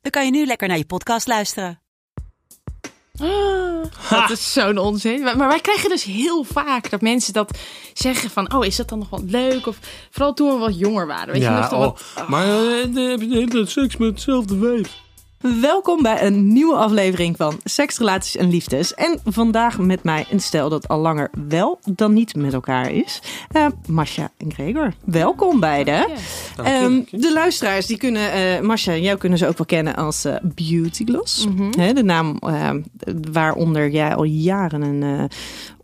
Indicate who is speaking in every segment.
Speaker 1: dan kan je nu lekker naar je podcast luisteren.
Speaker 2: Dat is zo'n onzin. Maar, maar wij krijgen dus heel vaak dat mensen dat zeggen van... oh, is dat dan nog wel leuk? Of vooral toen we wat jonger waren. Weet je, nog
Speaker 3: Ja,
Speaker 2: dan
Speaker 3: oh,
Speaker 2: wat,
Speaker 3: maar eh, dan heb je de hele tijd seks met hetzelfde wijf.
Speaker 4: Welkom bij een nieuwe aflevering van Seks, Relaties en Liefdes. En vandaag met mij een stel dat al langer wel dan niet met elkaar is. Eh Masha en Gregor. Welkom beiden. Ehm, de luisteraars, die kunnen, eh Masha, jou kunnen ze ook wel kennen als eh, Beauty Gloss. Hè, de naam eh, waaronder jij al jaren een eh,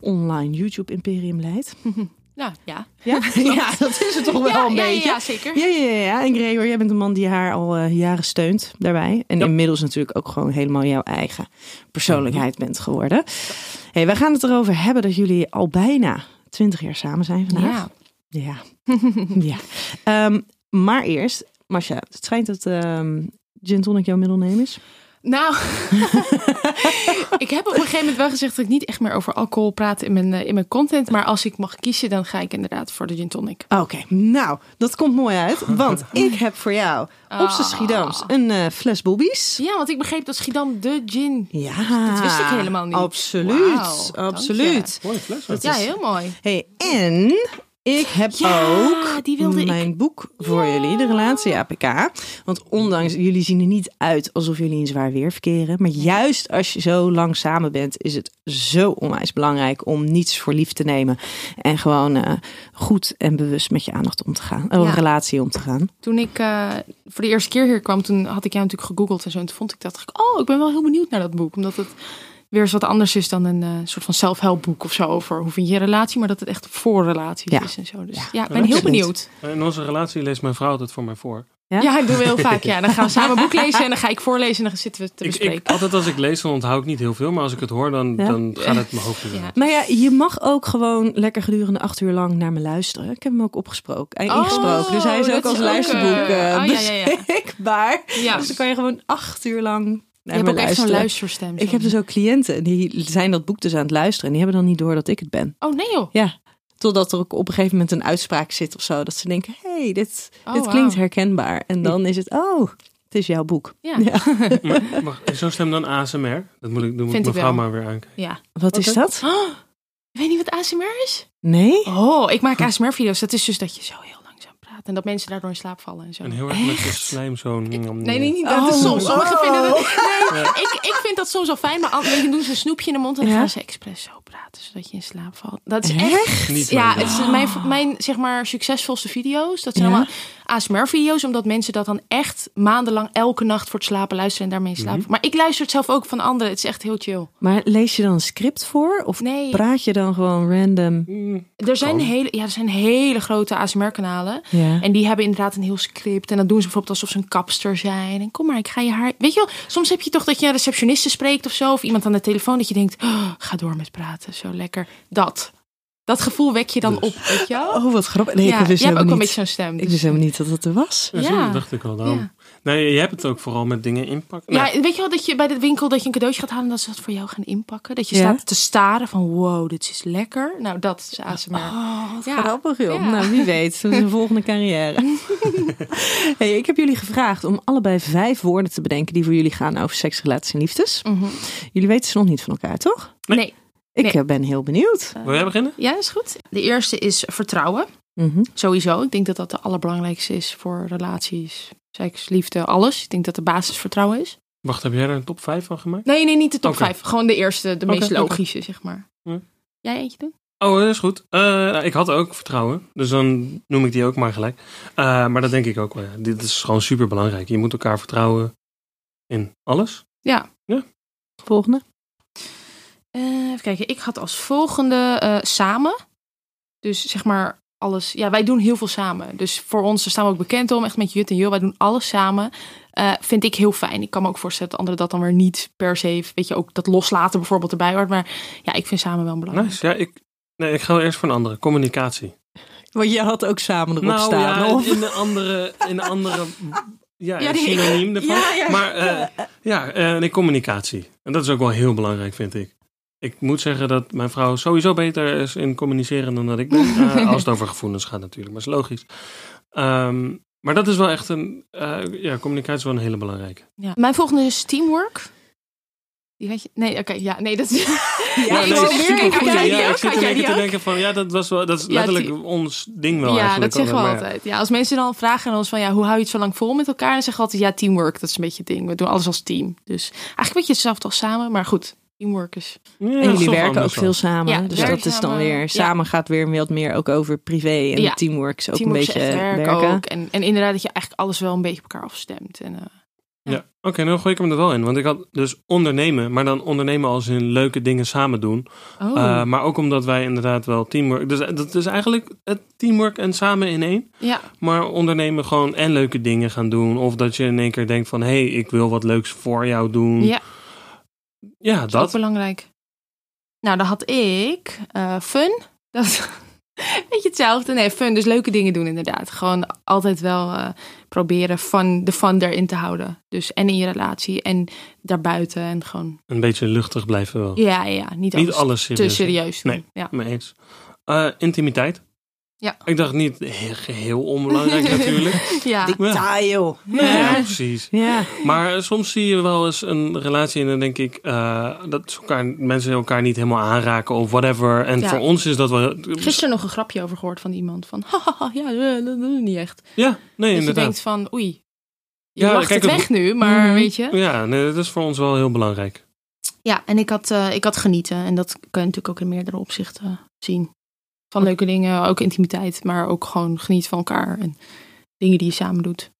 Speaker 4: online YouTube-imperium leidt.
Speaker 2: Ja, Nou, ja.
Speaker 4: Ja? ja, dat is het toch wel
Speaker 2: Ja,
Speaker 4: een
Speaker 2: ja, ja,
Speaker 4: beetje.
Speaker 2: ja, zeker.
Speaker 4: Ja, ja, ja, ja. En Gregor, jij bent een man die haar al eh, jaren steunt daarbij. En inmiddels natuurlijk ook gewoon helemaal jouw eigen persoonlijkheid bent geworden. hey, wij gaan het erover hebben dat jullie al bijna twintig jaar samen zijn vandaag.
Speaker 2: Ja.
Speaker 4: Ja. Ja. Ehm, maar eerst, Masha, het schijnt dat ehm gin tonic jouw middelneem is.
Speaker 2: Nou, ik heb op een gegeven moment wel gezegd... dat ik niet echt meer over alcohol praat in mijn, eh, in mijn content. Maar als ik mag kiezen, dan ga ik inderdaad voor de gin tonic.
Speaker 4: Oké, nou, dat komt mooi uit. Want ik heb voor jou op z'n Schiedams een eh, fles bobbies.
Speaker 2: Ja, want ik begreep dat Schiedam de gin...
Speaker 4: Ja,
Speaker 2: Dat wist ik helemaal niet.
Speaker 4: Absoluut,
Speaker 2: Wauw, dank
Speaker 4: absoluut.
Speaker 3: Mooie fles.
Speaker 2: ja, heel mooi.
Speaker 4: Hey, en ik heb
Speaker 2: Ja,
Speaker 4: ook
Speaker 2: die wilde ik.
Speaker 4: mijn boek voor jullie, de relatie APK. Want ondanks, jullie zien er niet uit alsof jullie in zwaar weer verkeren. Maar juist als je zo lang samen bent, is het zo onwijs belangrijk om niets voor lief te nemen. En gewoon eh, goed en bewust met je aandacht om te gaan. eh,
Speaker 2: Ja.
Speaker 4: relatie om te gaan.
Speaker 2: Toen ik eh, voor de eerste keer hier kwam, toen had ik jou natuurlijk gegoogeld en zo. En toen vond ik dat, dacht ik, oh, ik ben wel heel benieuwd naar dat boek. Omdat het weer eens wat anders is dan een eh, soort van zelfhelpboek of zo over hoe vind je je relatie. Maar dat het echt voor relaties
Speaker 4: Ja.
Speaker 2: is en zo. Dus ja,
Speaker 4: Ja.
Speaker 2: ik ben heel
Speaker 4: Absoluut.
Speaker 2: benieuwd.
Speaker 3: In onze relatie leest mijn vrouw dat voor mij voor.
Speaker 4: Ja?
Speaker 2: Ja? ik doe heel vaak. Ja, dan gaan we samen een boek lezen en dan ga ik voorlezen en dan zitten we te
Speaker 3: Ik,
Speaker 2: bespreken.
Speaker 3: ik, altijd als ik lees, dan onthoud ik niet heel veel. Maar als ik het hoor, dan,
Speaker 4: Ja.
Speaker 3: dan gaat het mijn hoofd in.
Speaker 2: Ja.
Speaker 4: Nou ja, je mag ook gewoon lekker gedurende acht uur lang naar me luisteren. Ik heb hem ook opgesproken, eh, ingesproken. Dus hij is
Speaker 2: Oh, dat
Speaker 4: ook als
Speaker 2: is ook,
Speaker 4: luisterboek
Speaker 2: eh,
Speaker 4: eh,
Speaker 2: oh, ja, ja, ja.
Speaker 4: beschikbaar.
Speaker 2: ja.
Speaker 4: Dus dan kan je gewoon acht uur lang
Speaker 2: Je
Speaker 4: naar
Speaker 2: hebt
Speaker 4: me
Speaker 2: ook echt zo'n
Speaker 4: luisteren.
Speaker 2: luisterstem.
Speaker 4: ik heb dus ook cliënten die zijn dat boek dus aan het luisteren. En die hebben dan niet door dat ik het ben.
Speaker 2: Oh nee joh.
Speaker 4: Ja, totdat er ook op een gegeven moment een uitspraak zit of zo. Dat ze denken, hé, hey, dit,
Speaker 2: Oh,
Speaker 4: dit
Speaker 2: wauw.
Speaker 4: klinkt herkenbaar. En dan is het, oh, het is jouw boek.
Speaker 2: Ja.
Speaker 3: Maar, maar zo'n stem dan ASMR? Dat moet ik, dat moet mijn
Speaker 2: Vind ik
Speaker 3: vrouw
Speaker 2: wel.
Speaker 3: maar weer aankijken.
Speaker 2: Ja.
Speaker 4: Wat is
Speaker 3: Oké.
Speaker 4: dat?
Speaker 2: Oh, weet je niet wat ASMR is?
Speaker 4: Nee?
Speaker 2: Oh, ik maak ASMR-video's. Dat is dus dat je zo heel langzaam praat en dat mensen daardoor in slaap vallen en zo.
Speaker 3: En heel erg met de slijm zo. Mm,
Speaker 2: Nee, nee, niet. Dat is
Speaker 4: Oh,
Speaker 2: soms. Sommigen
Speaker 4: wow.
Speaker 2: vinden dat. Nee, ik, ik vind dat soms wel fijn, maar anderen doen ze een snoepje in de mond en dan
Speaker 4: Ja?
Speaker 2: gaan ze expres zo praten zodat je in slaap valt. Dat is echt.
Speaker 4: Echt?
Speaker 3: Niet
Speaker 2: Ja,
Speaker 3: mijn
Speaker 2: het is mijn, mijn zeg maar succesvolste video's. Dat zijn
Speaker 4: Ja?
Speaker 2: allemaal ASMR-video's, omdat mensen dat dan echt maandenlang elke nacht voor het slapen luisteren en daarmee in slaap. Maar ik luister het zelf ook van anderen. Het is echt heel chill.
Speaker 4: Maar lees je dan een script voor? Of
Speaker 2: Nee.
Speaker 4: praat je dan gewoon random?
Speaker 3: mm,
Speaker 2: Er zijn, hele, ja, er zijn hele grote ASMR-kanalen.
Speaker 4: Ja.
Speaker 2: En die hebben inderdaad een heel script. En dan doen ze bijvoorbeeld alsof ze een kapster zijn. En kom maar, ik ga je haar... Weet je wel, soms heb je toch dat je een receptioniste spreekt of zo. Of iemand aan de telefoon dat je denkt, "Oh, ga door met praten, zo lekker. Dat. Dat gevoel wek je dan op, weet je wel?
Speaker 4: Oh, wat grappig. Nee,
Speaker 2: ja,
Speaker 4: ik wist
Speaker 2: jij hebt
Speaker 4: helemaal
Speaker 2: ook een
Speaker 4: niet.
Speaker 2: beetje zo'n stem.
Speaker 4: Ik
Speaker 2: dus-
Speaker 4: wist helemaal niet dat dat er was.
Speaker 3: Ja, zo,
Speaker 2: Ja.
Speaker 3: dat dacht ik al. Daarom.
Speaker 2: Ja.
Speaker 3: Nee, je hebt het ook vooral met dingen inpakken.
Speaker 2: Ja,
Speaker 3: Nou,
Speaker 2: weet je wel dat je bij de winkel dat je een cadeautje gaat halen en dat ze dat voor jou gaan inpakken? Dat je
Speaker 4: Ja.
Speaker 2: staat te staren van, wow, dit is lekker. Nou, dat is ASMR. Ja.
Speaker 4: Oh, Grappig joh.
Speaker 2: Ja.
Speaker 4: Nou, wie weet. Dat is een volgende carrière. hey, ik heb jullie gevraagd om allebei vijf woorden te bedenken die voor jullie gaan over seks, relaties en liefdes.
Speaker 2: Mhm.
Speaker 4: Jullie weten ze nog niet van elkaar, toch?
Speaker 3: Nee.
Speaker 2: Nee.
Speaker 4: Ik
Speaker 2: Nee.
Speaker 4: eh, ben heel benieuwd.
Speaker 3: wil jij beginnen?
Speaker 2: Ja, is goed. De eerste is vertrouwen.
Speaker 4: Mhm.
Speaker 2: Sowieso. Ik denk dat dat de allerbelangrijkste is voor relaties, seks, liefde, alles. Ik denk dat de basis vertrouwen is.
Speaker 3: Wacht, heb jij er een top 5 van gemaakt?
Speaker 2: Nee, nee, niet de top
Speaker 3: Oké.
Speaker 2: 5. Gewoon de eerste,
Speaker 3: Oké,
Speaker 2: de meest
Speaker 3: oké. Hm.
Speaker 2: logische, zeg maar.
Speaker 3: Ja.
Speaker 2: Jij eentje doen?
Speaker 3: Oh, dat is goed. Eh, nou, ik had ook vertrouwen, dus dan noem ik die ook maar gelijk. Eh, maar dat denk ik ook wel. ja. Dit is gewoon super belangrijk. Je moet elkaar vertrouwen in alles.
Speaker 4: Volgende.
Speaker 2: Eh, even kijken. Ik had als volgende eh, samen. Dus zeg maar alles. Ja, wij doen heel veel samen. Dus voor ons, daar staan we ook bekend om. Echt met Jut en Jul. Wij doen alles samen. Eh, eh, vind ik heel fijn. Ik kan me ook voorstellen dat anderen dat dan weer niet per se, weet je, ook dat loslaten bijvoorbeeld erbij hoort. Maar ja, ik vind samen wel belangrijk.
Speaker 3: Nice. Ja, ik, nee, ik ga eerst voor een andere. Communicatie.
Speaker 4: Want je had ook samen erop
Speaker 3: nou
Speaker 4: staan.
Speaker 3: ja,
Speaker 4: of?
Speaker 3: in de andere... In de andere ja,
Speaker 2: Ja, die-
Speaker 3: synoniem ervan.
Speaker 2: Ja, ja.
Speaker 3: Maar eh, ja, eh nee, communicatie. En dat is ook wel heel belangrijk, vind ik. Ik moet zeggen dat mijn vrouw sowieso beter is in communiceren dan dat ik ben. eh, als het over gevoelens gaat natuurlijk, maar is logisch. Ehm, maar dat is wel echt een... eh, ja, communicatie is wel een hele belangrijke.
Speaker 2: Ja. Mijn volgende is teamwork. Die had je... Nee, oké, ja, nee, dat is...
Speaker 3: Nou,
Speaker 2: Ja, ik
Speaker 3: nee,
Speaker 2: zit
Speaker 3: is
Speaker 2: even te
Speaker 3: super
Speaker 2: kijken,
Speaker 3: goed.
Speaker 2: had jij die
Speaker 3: Ja,
Speaker 2: ook?
Speaker 3: ik zit
Speaker 2: Had
Speaker 3: een
Speaker 2: jij
Speaker 3: beetje
Speaker 2: die
Speaker 3: te
Speaker 2: ook?
Speaker 3: denken van, ja, dat, was wel, dat is
Speaker 2: Ja,
Speaker 3: letterlijk
Speaker 2: die-
Speaker 3: ons ding wel
Speaker 2: ja,
Speaker 3: eigenlijk.
Speaker 2: dat zeggen we
Speaker 3: Maar ja,
Speaker 2: altijd. Ja, als mensen dan vragen aan ons van ja, hoe hou je het zo lang vol met elkaar? Dan zeggen we altijd ja, teamwork, dat is een beetje het ding. We doen alles als team. Dus eigenlijk een beetje hetzelfde als samen, maar goed, teamwork is.
Speaker 3: Ja, dat
Speaker 4: en
Speaker 3: is
Speaker 4: jullie
Speaker 3: toch
Speaker 4: werken ook
Speaker 3: anders
Speaker 4: veel
Speaker 3: wel.
Speaker 4: samen.
Speaker 2: Ja,
Speaker 4: dus
Speaker 2: werk
Speaker 4: dat is dan
Speaker 2: samen.
Speaker 4: weer.
Speaker 2: Ja.
Speaker 4: Samen gaat weer wat meer ook over privé. En
Speaker 2: Ja.
Speaker 4: teamwork is ook
Speaker 2: teamwork
Speaker 4: een
Speaker 2: is
Speaker 4: beetje
Speaker 2: echt werk
Speaker 4: werken.
Speaker 2: ook. En, en inderdaad dat je eigenlijk alles wel een beetje op elkaar afstemt. En, eh,
Speaker 3: Ja, oké, nou gooi ik hem er wel in. Want ik had dus ondernemen, maar dan ondernemen als in leuke dingen samen doen.
Speaker 2: oh,
Speaker 3: Eh, maar ook omdat wij inderdaad wel teamwork... Dus dat is eigenlijk het teamwork en samen in één.
Speaker 2: ja.
Speaker 3: Maar ondernemen gewoon en leuke dingen gaan doen. Of dat je in één keer denkt van, hé, hey, ik wil wat leuks voor jou doen.
Speaker 2: ja,
Speaker 3: Ja,
Speaker 2: dat is ook
Speaker 3: dat.
Speaker 2: belangrijk. Nou, dan had ik eh, fun. Dat weet je hetzelfde. Nee, fun, dus leuke dingen doen inderdaad. Gewoon altijd wel eh, proberen fun, de fun erin te houden. Dus en in je relatie en daarbuiten en gewoon...
Speaker 3: Een beetje luchtig blijven wel.
Speaker 2: Ja, ja, niet,
Speaker 3: Oh. Niet
Speaker 2: alles
Speaker 3: alles
Speaker 2: te
Speaker 3: serieus.
Speaker 2: serieus doen.
Speaker 3: Nee.
Speaker 2: Ja.
Speaker 3: Mee eens. Eh, intimiteit.
Speaker 2: Ja.
Speaker 3: Ik dacht niet he- geheel onbelangrijk natuurlijk.
Speaker 2: ja.
Speaker 4: Detail.
Speaker 3: Ja, precies.
Speaker 4: Ja.
Speaker 3: Maar eh, soms zie je wel eens een relatie en dan denk ik eh, dat ze elkaar, mensen elkaar niet helemaal aanraken of whatever. En
Speaker 2: Ja.
Speaker 3: voor ons is dat wel.
Speaker 2: Gisteren nog een grapje over gehoord van iemand. Van, haha, ja, eh, dat doen we niet echt.
Speaker 3: Ja, nee,
Speaker 2: Dat je
Speaker 3: inderdaad.
Speaker 2: denkt van, oei, je
Speaker 3: Ja,
Speaker 2: lacht
Speaker 3: kijk,
Speaker 2: het
Speaker 3: dat-
Speaker 2: weg nu, maar
Speaker 4: Mhm.
Speaker 2: weet je.
Speaker 3: Ja, nee, dat is voor ons wel heel belangrijk.
Speaker 2: Ja, en ik had, eh, ik had genieten. En dat kan je natuurlijk ook in meerdere opzichten zien. Van leuke dingen, ook intimiteit, maar ook gewoon genieten van elkaar. En dingen die je samen doet.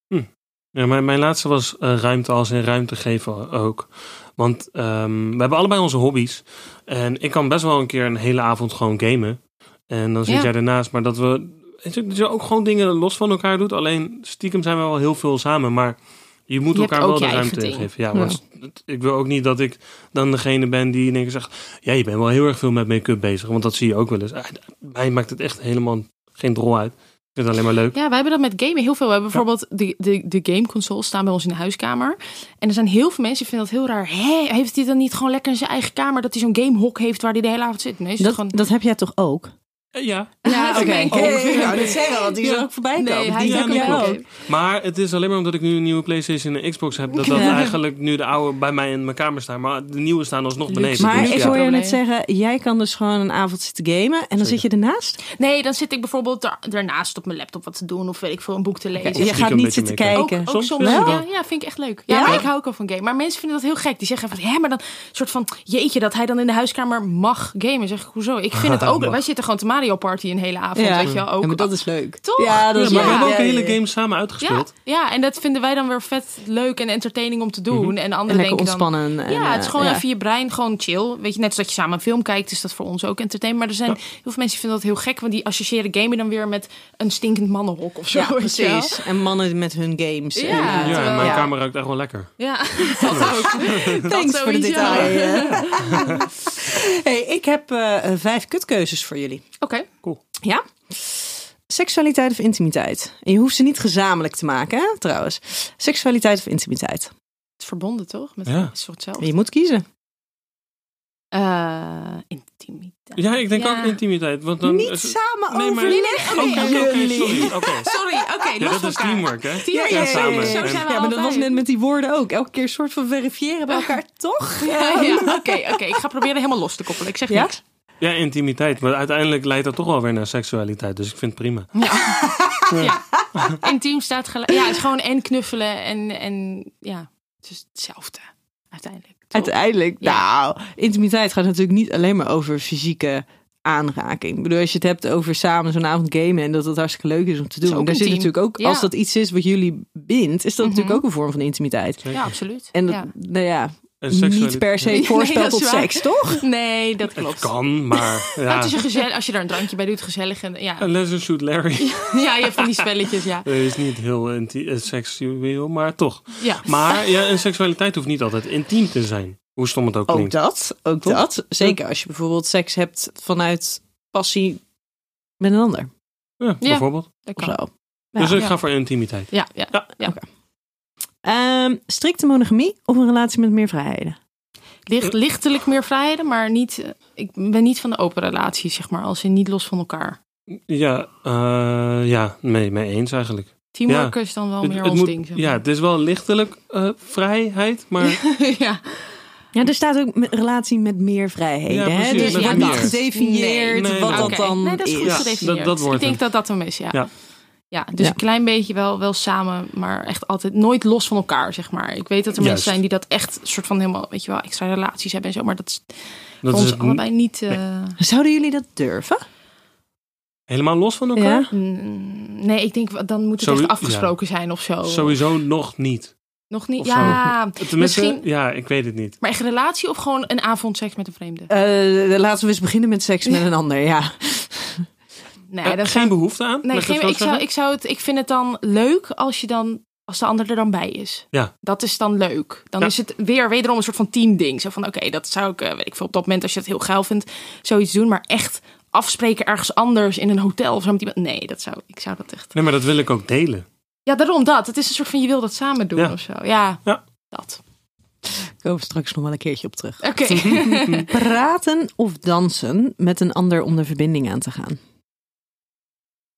Speaker 3: Ja, mijn, mijn laatste was eh, ruimte als in ruimte geven ook. Want ehm, we hebben allebei onze hobby's. En ik kan best wel een keer een hele avond gewoon gamen. En dan zit
Speaker 2: Ja.
Speaker 3: jij ernaast. Maar dat we weet je, dat je ook gewoon dingen los van elkaar doet. Alleen stiekem zijn we wel heel veel samen. Maar je moet
Speaker 2: Je hebt
Speaker 3: elkaar
Speaker 2: ook
Speaker 3: wel de
Speaker 2: je eigen
Speaker 3: ruimte
Speaker 2: ding.
Speaker 3: geven. Ja,
Speaker 4: Ja.
Speaker 3: want het- ik wil ook niet dat ik dan degene ben die in één keer zegt... Ja, je bent wel heel erg veel met make-up bezig. Want dat zie je ook wel eens. Ah, Mij maakt het echt helemaal geen drol uit. Ik vind het alleen maar leuk.
Speaker 2: Ja, wij hebben dat met gamen heel veel. We hebben bijvoorbeeld de, de, de gameconsoles staan bij ons in de huiskamer. En er zijn heel veel mensen die vinden dat heel raar. Hé, heeft hij dan niet gewoon lekker in zijn eigen kamer? Dat hij zo'n gamehok heeft waar hij de hele avond zit? Nee, is het
Speaker 4: Dat,
Speaker 2: gewoon...
Speaker 4: dat heb jij toch ook?
Speaker 3: Eh, Ja,
Speaker 2: Ja,
Speaker 4: Oké.
Speaker 2: nee,
Speaker 4: Oh,
Speaker 2: nee.
Speaker 4: ik wou net zeggen, want die is
Speaker 2: Ja.
Speaker 4: ook voorbij komen.
Speaker 2: Nee, hij
Speaker 3: Die
Speaker 2: is ook
Speaker 3: heb
Speaker 2: een
Speaker 3: ik
Speaker 2: game.
Speaker 3: ook. Maar het is alleen maar omdat ik nu een nieuwe PlayStation en Xbox heb. Dat dat
Speaker 4: Ja.
Speaker 3: eigenlijk nu de oude bij mij in mijn kamer staan. Maar de nieuwe staan alsnog
Speaker 2: Luxe.
Speaker 3: beneden.
Speaker 4: Maar
Speaker 3: dus
Speaker 4: ik
Speaker 3: ja.
Speaker 4: hoor je
Speaker 2: Probleem.
Speaker 4: net zeggen, jij kan dus gewoon een avond zitten gamen en dan
Speaker 3: Zeker.
Speaker 4: zit je ernaast.
Speaker 2: Nee, dan zit ik bijvoorbeeld daar- daarnaast op mijn laptop wat te doen. Of weet ik veel, een boek te lezen.
Speaker 4: je gaat
Speaker 3: een
Speaker 4: niet
Speaker 3: beetje
Speaker 4: zitten
Speaker 3: meekijken.
Speaker 4: kijken.
Speaker 2: Ook, ook
Speaker 3: Soms
Speaker 2: soms,
Speaker 3: wel.
Speaker 2: ja, ja, vind ik echt leuk. Ja,
Speaker 4: Ja?
Speaker 2: maar ik hou ook al van game. Maar mensen vinden dat heel gek. Die zeggen van, hè, maar dan soort van, jeetje, dat hij dan in de huiskamer mag gamen. Zeg ik, hoezo? Ik vind het ook leuk. Wij zitten gewoon te Mario Party een hele avond, weet je wel. Ook.
Speaker 4: Ja, maar dat is leuk.
Speaker 2: Toch?
Speaker 4: Ja, dat
Speaker 3: Ja,
Speaker 4: is
Speaker 3: maar
Speaker 2: Ja.
Speaker 3: we hebben ook
Speaker 4: Ja,
Speaker 3: hele
Speaker 4: ja, ja.
Speaker 3: games samen
Speaker 2: ja,
Speaker 3: uitgespeeld.
Speaker 2: ja, en dat vinden wij dan weer vet leuk en entertaining om te doen. En anderen
Speaker 4: Mhm. En lekker
Speaker 2: denken dan...
Speaker 4: ontspannen. en,
Speaker 2: Ja, het is
Speaker 4: eh,
Speaker 2: gewoon
Speaker 4: ja.
Speaker 2: even je brein, gewoon chill. Weet je, net als dat je samen een film kijkt, is dat voor ons ook entertainment. Maar er zijn heel veel mensen die vinden dat heel gek, want die associëren gamen dan weer met een stinkend mannenhok of zo.
Speaker 4: Ja,
Speaker 2: weet je wel.
Speaker 4: precies. En mannen met hun games.
Speaker 2: Ja.
Speaker 4: En,
Speaker 3: Ja,
Speaker 4: eh,
Speaker 2: terwijl-
Speaker 3: en mijn
Speaker 4: ja.
Speaker 3: kamer ruikt echt wel lekker.
Speaker 2: Ja, dat ook.
Speaker 4: Thanks voor de
Speaker 2: sowieso.
Speaker 4: detail. hey, ik heb eh, eh, vijf kutkeuzes voor jullie.
Speaker 2: Oké.
Speaker 4: Ja? Seksualiteit of intimiteit? En je hoeft ze niet gezamenlijk te maken, hè, trouwens. Seksualiteit of intimiteit?
Speaker 2: Het is verbonden toch? Met
Speaker 3: Ja.
Speaker 2: een soort zelf.
Speaker 4: Je moet kiezen.
Speaker 2: Eh, intimiteit.
Speaker 3: Ja, ik denk
Speaker 2: Ja.
Speaker 3: ook intimiteit. Want dan,
Speaker 4: niet samen
Speaker 3: nee, maar-
Speaker 4: overleggen
Speaker 3: Oké, oké, oké,
Speaker 4: jullie.
Speaker 3: sorry. oké.
Speaker 2: Sorry, oké,
Speaker 3: Ja,
Speaker 2: los
Speaker 3: dat
Speaker 2: van
Speaker 3: is
Speaker 2: elkaar.
Speaker 3: teamwork, hè?
Speaker 2: Ja,
Speaker 3: ja, samen.
Speaker 4: ja, ja.
Speaker 3: Zo zijn we
Speaker 4: Ja, maar dat was
Speaker 2: altijd.
Speaker 4: net met die woorden ook. Elke keer een soort van verifiëren bij elkaar, toch?
Speaker 2: Ja, ja, Oké, oké, ik ga proberen helemaal los te koppelen. Ik zeg
Speaker 4: Ja?
Speaker 2: niks.
Speaker 3: Ja, intimiteit. Maar uiteindelijk leidt dat toch wel weer naar seksualiteit. Dus ik vind het prima.
Speaker 2: Ja. Intiem staat gelijk. Ja, het is gewoon en knuffelen en, en ja, het is hetzelfde uiteindelijk. toch?
Speaker 4: Uiteindelijk,
Speaker 2: Ja.
Speaker 4: nou, intimiteit gaat natuurlijk niet alleen maar over fysieke aanraking. Ik bedoel, als je het hebt over samen zo'n avond gamen en dat het hartstikke leuk is om te
Speaker 2: is
Speaker 4: doen,
Speaker 2: ook
Speaker 4: daar zit
Speaker 2: intiem.
Speaker 4: natuurlijk ook,
Speaker 2: Ja.
Speaker 4: als dat iets is wat jullie bindt, is dat
Speaker 2: Mhm.
Speaker 4: natuurlijk ook een vorm van intimiteit.
Speaker 2: Ja, absoluut.
Speaker 4: En dat,
Speaker 2: ja.
Speaker 4: nou ja,
Speaker 3: Het En
Speaker 4: niet
Speaker 3: seksualiteit-
Speaker 4: per se
Speaker 2: Nee,
Speaker 4: voorspelt
Speaker 2: dat is
Speaker 4: tot
Speaker 2: waar.
Speaker 4: seks, toch?
Speaker 2: Nee, dat
Speaker 3: Het
Speaker 2: klopt.
Speaker 3: kan, maar
Speaker 2: Maar
Speaker 3: ja.
Speaker 2: het is een gezellig, als je daar een drankje bij doet, gezellig. En, ja.
Speaker 3: Een lesson shoot Larry
Speaker 2: ja, je hebt van die spelletjes, ja.
Speaker 3: Eh, is niet heel inti- eh, seksueel, maar toch.
Speaker 2: ja.
Speaker 3: Maar ja, en seksualiteit hoeft niet altijd intiem te zijn. Hoe stom
Speaker 2: Oh,
Speaker 3: het ook
Speaker 4: Ook
Speaker 3: klinkt.
Speaker 4: dat, ook
Speaker 3: Toch?
Speaker 4: dat. Zeker als je bijvoorbeeld seks hebt vanuit passie met een ander
Speaker 3: Ja, Bijvoorbeeld.
Speaker 2: Dat
Speaker 4: of
Speaker 2: kan.
Speaker 4: zo.
Speaker 3: dus
Speaker 4: Ja.
Speaker 3: ik ga voor intimiteit.
Speaker 2: Ja, ja.
Speaker 4: Ehm, strikte monogamie of een relatie met meer vrijheden?
Speaker 2: Licht,
Speaker 3: Eh.
Speaker 2: lichtelijk meer vrijheden, maar niet, eh, ik ben niet van de open relatie, zeg maar. Als in niet los van elkaar.
Speaker 3: Ja, eh, ja mee, mee eens eigenlijk.
Speaker 2: Teamwork
Speaker 3: Ja.
Speaker 2: is dan wel
Speaker 3: Het-
Speaker 2: meer
Speaker 3: het
Speaker 2: ons
Speaker 3: moet-
Speaker 2: ding. zeg
Speaker 3: ja,
Speaker 2: maar.
Speaker 3: het is wel lichtelijk eh, vrijheid, maar
Speaker 2: ja.
Speaker 4: Ja, er staat ook met- relatie met meer vrijheden.
Speaker 3: Ja,
Speaker 4: hè?
Speaker 3: precies,
Speaker 4: Dus er
Speaker 3: met
Speaker 4: wordt niet
Speaker 3: meer.
Speaker 4: gedefinieerd
Speaker 3: Nee, nee,
Speaker 4: wat
Speaker 3: nee.
Speaker 4: dat
Speaker 2: Oké,
Speaker 4: dan
Speaker 2: nee, dat is goed
Speaker 3: Ja,
Speaker 2: gedefinieerd.
Speaker 3: dat- dat wordt
Speaker 2: ik denk
Speaker 3: het.
Speaker 2: dat dat hem is, ja.
Speaker 3: Ja.
Speaker 2: Ja, dus
Speaker 4: Ja.
Speaker 2: een klein beetje wel, wel samen, maar echt altijd nooit los van elkaar, zeg maar. Ik weet dat
Speaker 3: Juist.
Speaker 2: er mensen zijn die dat echt soort van helemaal, weet je wel, extra relaties hebben en zo. Maar dat is
Speaker 3: dat
Speaker 2: voor
Speaker 3: is
Speaker 2: ons
Speaker 3: het
Speaker 2: allebei niet... eh,
Speaker 4: Zouden jullie dat durven?
Speaker 3: helemaal los van elkaar.
Speaker 2: mm, nee, ik denk, wel- dan moet het
Speaker 3: Sorry,
Speaker 2: echt afgesproken zijn of zo.
Speaker 3: Sowieso Oh. nog niet.
Speaker 2: Nog niet,
Speaker 3: of
Speaker 2: ja.
Speaker 3: Tenminste,
Speaker 2: Misschien-
Speaker 3: ja, ik weet het niet.
Speaker 2: Maar echt een relatie of gewoon een avondseks met een vreemde?
Speaker 4: Eh, laten we eens beginnen met seks met een ander, ja.
Speaker 2: Nee,
Speaker 3: Eh,
Speaker 2: dat
Speaker 3: geen behoefte aan?
Speaker 2: Nee,
Speaker 3: Mag ik
Speaker 2: geen,
Speaker 3: het zo
Speaker 2: ik, zou,
Speaker 3: zeggen?
Speaker 2: ik, zou het, ik vind het dan leuk als, je dan, als de ander er dan bij is.
Speaker 3: Ja.
Speaker 2: Dat is dan leuk. Dan
Speaker 3: Ja.
Speaker 2: is het weer wederom een soort van teamding. Zo van, oké, dat zou ik, eh, weet ik veel, op dat moment als je het heel geil vindt, zoiets doen. Maar echt afspreken ergens anders in een hotel of zo met iemand. Nee, dat zou, ik zou dat echt...
Speaker 3: Nee, maar dat wil ik ook delen.
Speaker 2: Ja, daarom dat. Het is een soort van, je wil dat samen doen
Speaker 3: Ja.
Speaker 2: of zo. Ja,
Speaker 3: Ja.
Speaker 2: dat.
Speaker 4: Ik kom straks nog wel een keertje op terug.
Speaker 2: Oké. Eh,
Speaker 4: Praten of dansen met een ander om de verbinding aan te gaan?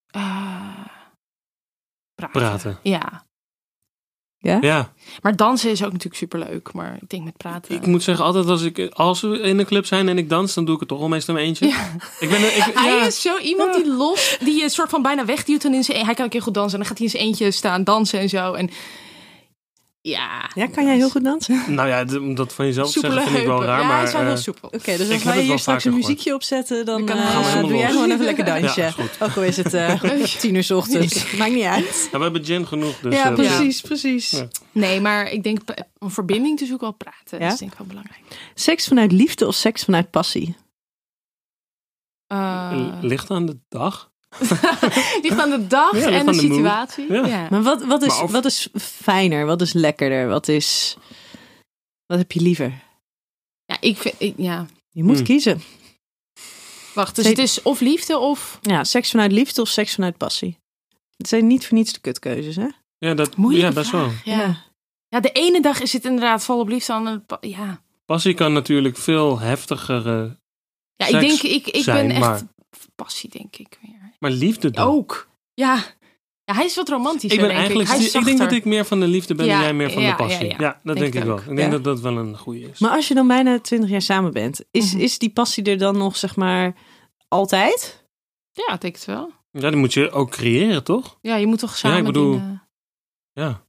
Speaker 2: Eh, praten.
Speaker 3: Praten.
Speaker 2: Ja.
Speaker 3: Ja,
Speaker 2: Maar dansen is ook natuurlijk superleuk. Maar ik denk met praten...
Speaker 3: ik moet zeggen, altijd als, ik, als we in een club zijn en ik dans, dan doe ik het toch al meestal in mijn eentje.
Speaker 2: Ja.
Speaker 3: Ik ben, ik,
Speaker 2: Hij
Speaker 3: ja.
Speaker 2: is zo iemand die los, die je soort van bijna wegduwt. En in zijn, e- hij kan ook heel goed dansen. En dan gaat hij in zijn eentje staan dansen en zo. En ja.
Speaker 4: Ja, kan jij heel goed dansen? Oké,
Speaker 3: Nou ja, d- om dat van jezelf te
Speaker 2: Soepele
Speaker 3: zeggen vind ik wel
Speaker 2: heupen.
Speaker 3: raar.
Speaker 2: ja,
Speaker 3: maar,
Speaker 2: hij is wel heel
Speaker 3: eh,
Speaker 2: soepel.
Speaker 4: dus
Speaker 3: Ik
Speaker 4: als
Speaker 3: heb
Speaker 4: wij
Speaker 3: het wel
Speaker 4: hier straks een
Speaker 3: vaker
Speaker 4: muziekje opzetten, dan
Speaker 2: Dan kan-
Speaker 4: eh,
Speaker 2: gaan we helemaal
Speaker 4: doe jij
Speaker 3: los.
Speaker 4: gewoon even lekker dansje.
Speaker 3: Ja, is goed.
Speaker 4: ook al is het eh tien uur 's ochtends. Maakt niet uit.
Speaker 3: ja, we hebben gin genoeg, dus
Speaker 4: ja,
Speaker 3: eh, we-
Speaker 4: precies, precies.
Speaker 3: Ja.
Speaker 2: Nee, maar ik denk eh, om verbinding te zoeken wel
Speaker 4: Ja?
Speaker 2: praten. Dat is denk ik wel belangrijk.
Speaker 4: Seks vanuit liefde of seks vanuit passie?
Speaker 2: Eh,
Speaker 3: ligt aan de dag.
Speaker 2: ligt aan de dag
Speaker 3: Ja, ligt
Speaker 2: en de,
Speaker 3: aan de mood.
Speaker 2: situatie.
Speaker 3: Ja.
Speaker 2: Ja.
Speaker 4: Maar wat, wat, is,
Speaker 3: Maar of-
Speaker 4: wat is fijner? Wat is lekkerder? Wat is... Wat heb je liever?
Speaker 2: Ja, ik vind, ik- ja.
Speaker 4: Je moet
Speaker 3: Hmm.
Speaker 4: kiezen.
Speaker 2: Wacht, dus
Speaker 4: Zet-
Speaker 2: het is of liefde of...
Speaker 4: Ja, seks vanuit liefde of seks vanuit passie? Het zijn niet voor niets de kutkeuzes, hè?
Speaker 3: Ja, dat,
Speaker 2: Moeilijke
Speaker 3: ja best wel.
Speaker 2: vraag. Ja. ja, de ene dag is het inderdaad vol op liefde. aan de pa- Ja,
Speaker 3: Passie kan natuurlijk veel heftigere,
Speaker 2: ja ik
Speaker 3: Seks
Speaker 2: denk, ik, ik
Speaker 3: zijn,
Speaker 2: ben echt
Speaker 3: maar-
Speaker 2: passie, denk ik weer.
Speaker 3: maar liefde dan.
Speaker 2: Ook. Ja. ja, hij is wat romantisch.
Speaker 3: ik ben eigenlijk,
Speaker 2: Oh, ik. Hij is
Speaker 3: ik denk dat
Speaker 2: zachter.
Speaker 3: ik meer van de liefde ben en
Speaker 2: Ja,
Speaker 3: jij meer van de
Speaker 2: ja,
Speaker 3: passie. Ja,
Speaker 2: ja, ja.
Speaker 3: dat denk,
Speaker 2: Denk
Speaker 3: ik
Speaker 2: het
Speaker 3: wel.
Speaker 2: ook,
Speaker 3: Ik denk
Speaker 4: ja.
Speaker 3: dat dat wel een goede is.
Speaker 4: Maar als je dan bijna 20 jaar samen bent, is,
Speaker 2: Mhm.
Speaker 4: is die passie er dan nog, zeg maar, altijd?
Speaker 2: Ja, ik denk het wel.
Speaker 3: Ja, die moet je ook creëren, toch?
Speaker 2: Ja, je moet toch samen
Speaker 3: ik bedoel-
Speaker 2: dingen-
Speaker 3: Ja.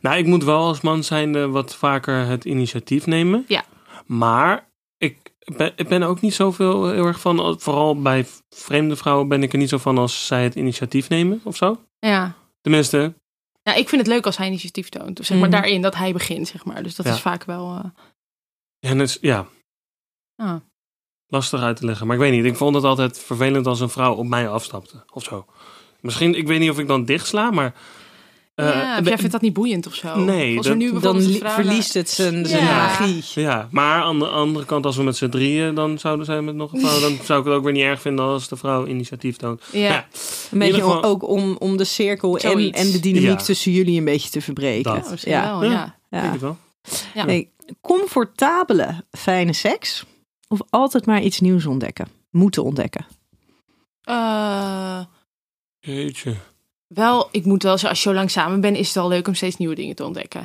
Speaker 3: Nou, ik moet wel als man zijn eh, wat vaker het initiatief nemen.
Speaker 2: Ja.
Speaker 3: Maar ik ben, ik ben ook niet zoveel heel erg van, eh, vooral bij vreemde vrouwen ben ik er niet zo van als zij het initiatief nemen of zo.
Speaker 2: eh, Ja.
Speaker 3: Tenminste,
Speaker 2: ja, ik vind het leuk als hij initiatief toont. Of zeg maar
Speaker 4: Mhm.
Speaker 2: daarin dat hij begint, zeg maar. Dus dat
Speaker 3: Ja.
Speaker 2: is vaak wel... eh,
Speaker 3: ja, dat is- ja,
Speaker 2: ja.
Speaker 3: lastig uit te leggen. Maar ik weet niet, ik vond het altijd vervelend als een vrouw op mij afstapte of zo. Misschien, ik weet niet of ik dan dicht sla, maar... eh,
Speaker 2: ja, of
Speaker 3: de-
Speaker 2: jij vindt dat niet boeiend of zo.
Speaker 3: Nee,
Speaker 2: Als er
Speaker 3: dat-
Speaker 2: nu
Speaker 4: Dan
Speaker 2: bijvoorbeeld een
Speaker 4: li-
Speaker 2: vrouw-
Speaker 4: verliest het zijn, zijn
Speaker 3: Ja.
Speaker 4: magie.
Speaker 3: Ja, maar aan de andere kant, als we met z'n drieën dan zouden zijn met nog een vrouw, dan zou ik het ook weer niet erg vinden als de vrouw initiatief toont.
Speaker 2: Ja.
Speaker 3: Ja.
Speaker 4: Een
Speaker 3: ieder
Speaker 4: beetje
Speaker 3: geval-
Speaker 4: ook om, om de cirkel en,
Speaker 2: Zoiets.
Speaker 4: en de dynamiek
Speaker 3: Ja.
Speaker 4: tussen jullie een beetje te verbreken.
Speaker 3: Dat.
Speaker 2: Ja, misschien wel,
Speaker 3: Ja.
Speaker 2: ja.
Speaker 4: Ja.
Speaker 3: Denk ik wel.
Speaker 2: Ja.
Speaker 4: Nee, comfortabele, fijne seks of altijd maar iets nieuws ontdekken? Moeten ontdekken.
Speaker 2: Eh,
Speaker 3: Jeetje.
Speaker 2: wel, ik moet wel zeggen, als je zo lang samen bent, is het wel leuk om steeds nieuwe dingen te ontdekken.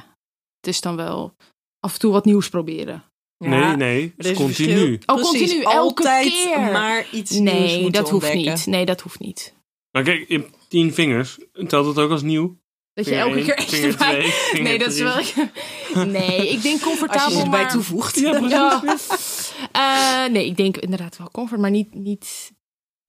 Speaker 2: Het is dan wel af en toe wat nieuws proberen.
Speaker 3: Nee, nee,
Speaker 4: Er is
Speaker 3: het is
Speaker 4: een
Speaker 3: continu.
Speaker 4: verschil.
Speaker 2: Oh, continu, elke
Speaker 4: altijd
Speaker 2: keer.
Speaker 4: maar iets nieuws
Speaker 2: Nee,
Speaker 4: moeten
Speaker 2: dat hoeft
Speaker 4: ontdekken.
Speaker 2: niet. Nee, dat hoeft niet.
Speaker 3: Maar kijk, je hebt tien vingers, telt het ook als nieuw?
Speaker 2: Dat je
Speaker 3: Vinger
Speaker 2: elke
Speaker 3: één,
Speaker 2: keer eentje
Speaker 3: vinger
Speaker 2: erbij-
Speaker 3: twee, vinger
Speaker 2: Nee, dat is
Speaker 3: drie.
Speaker 2: wel. Nee, ik denk comfortabel.
Speaker 4: Als je erbij
Speaker 2: maar...
Speaker 4: toevoegt.
Speaker 3: Ja, precies.
Speaker 2: Ja. Eh, nee, ik denk inderdaad wel comfort, maar niet, niet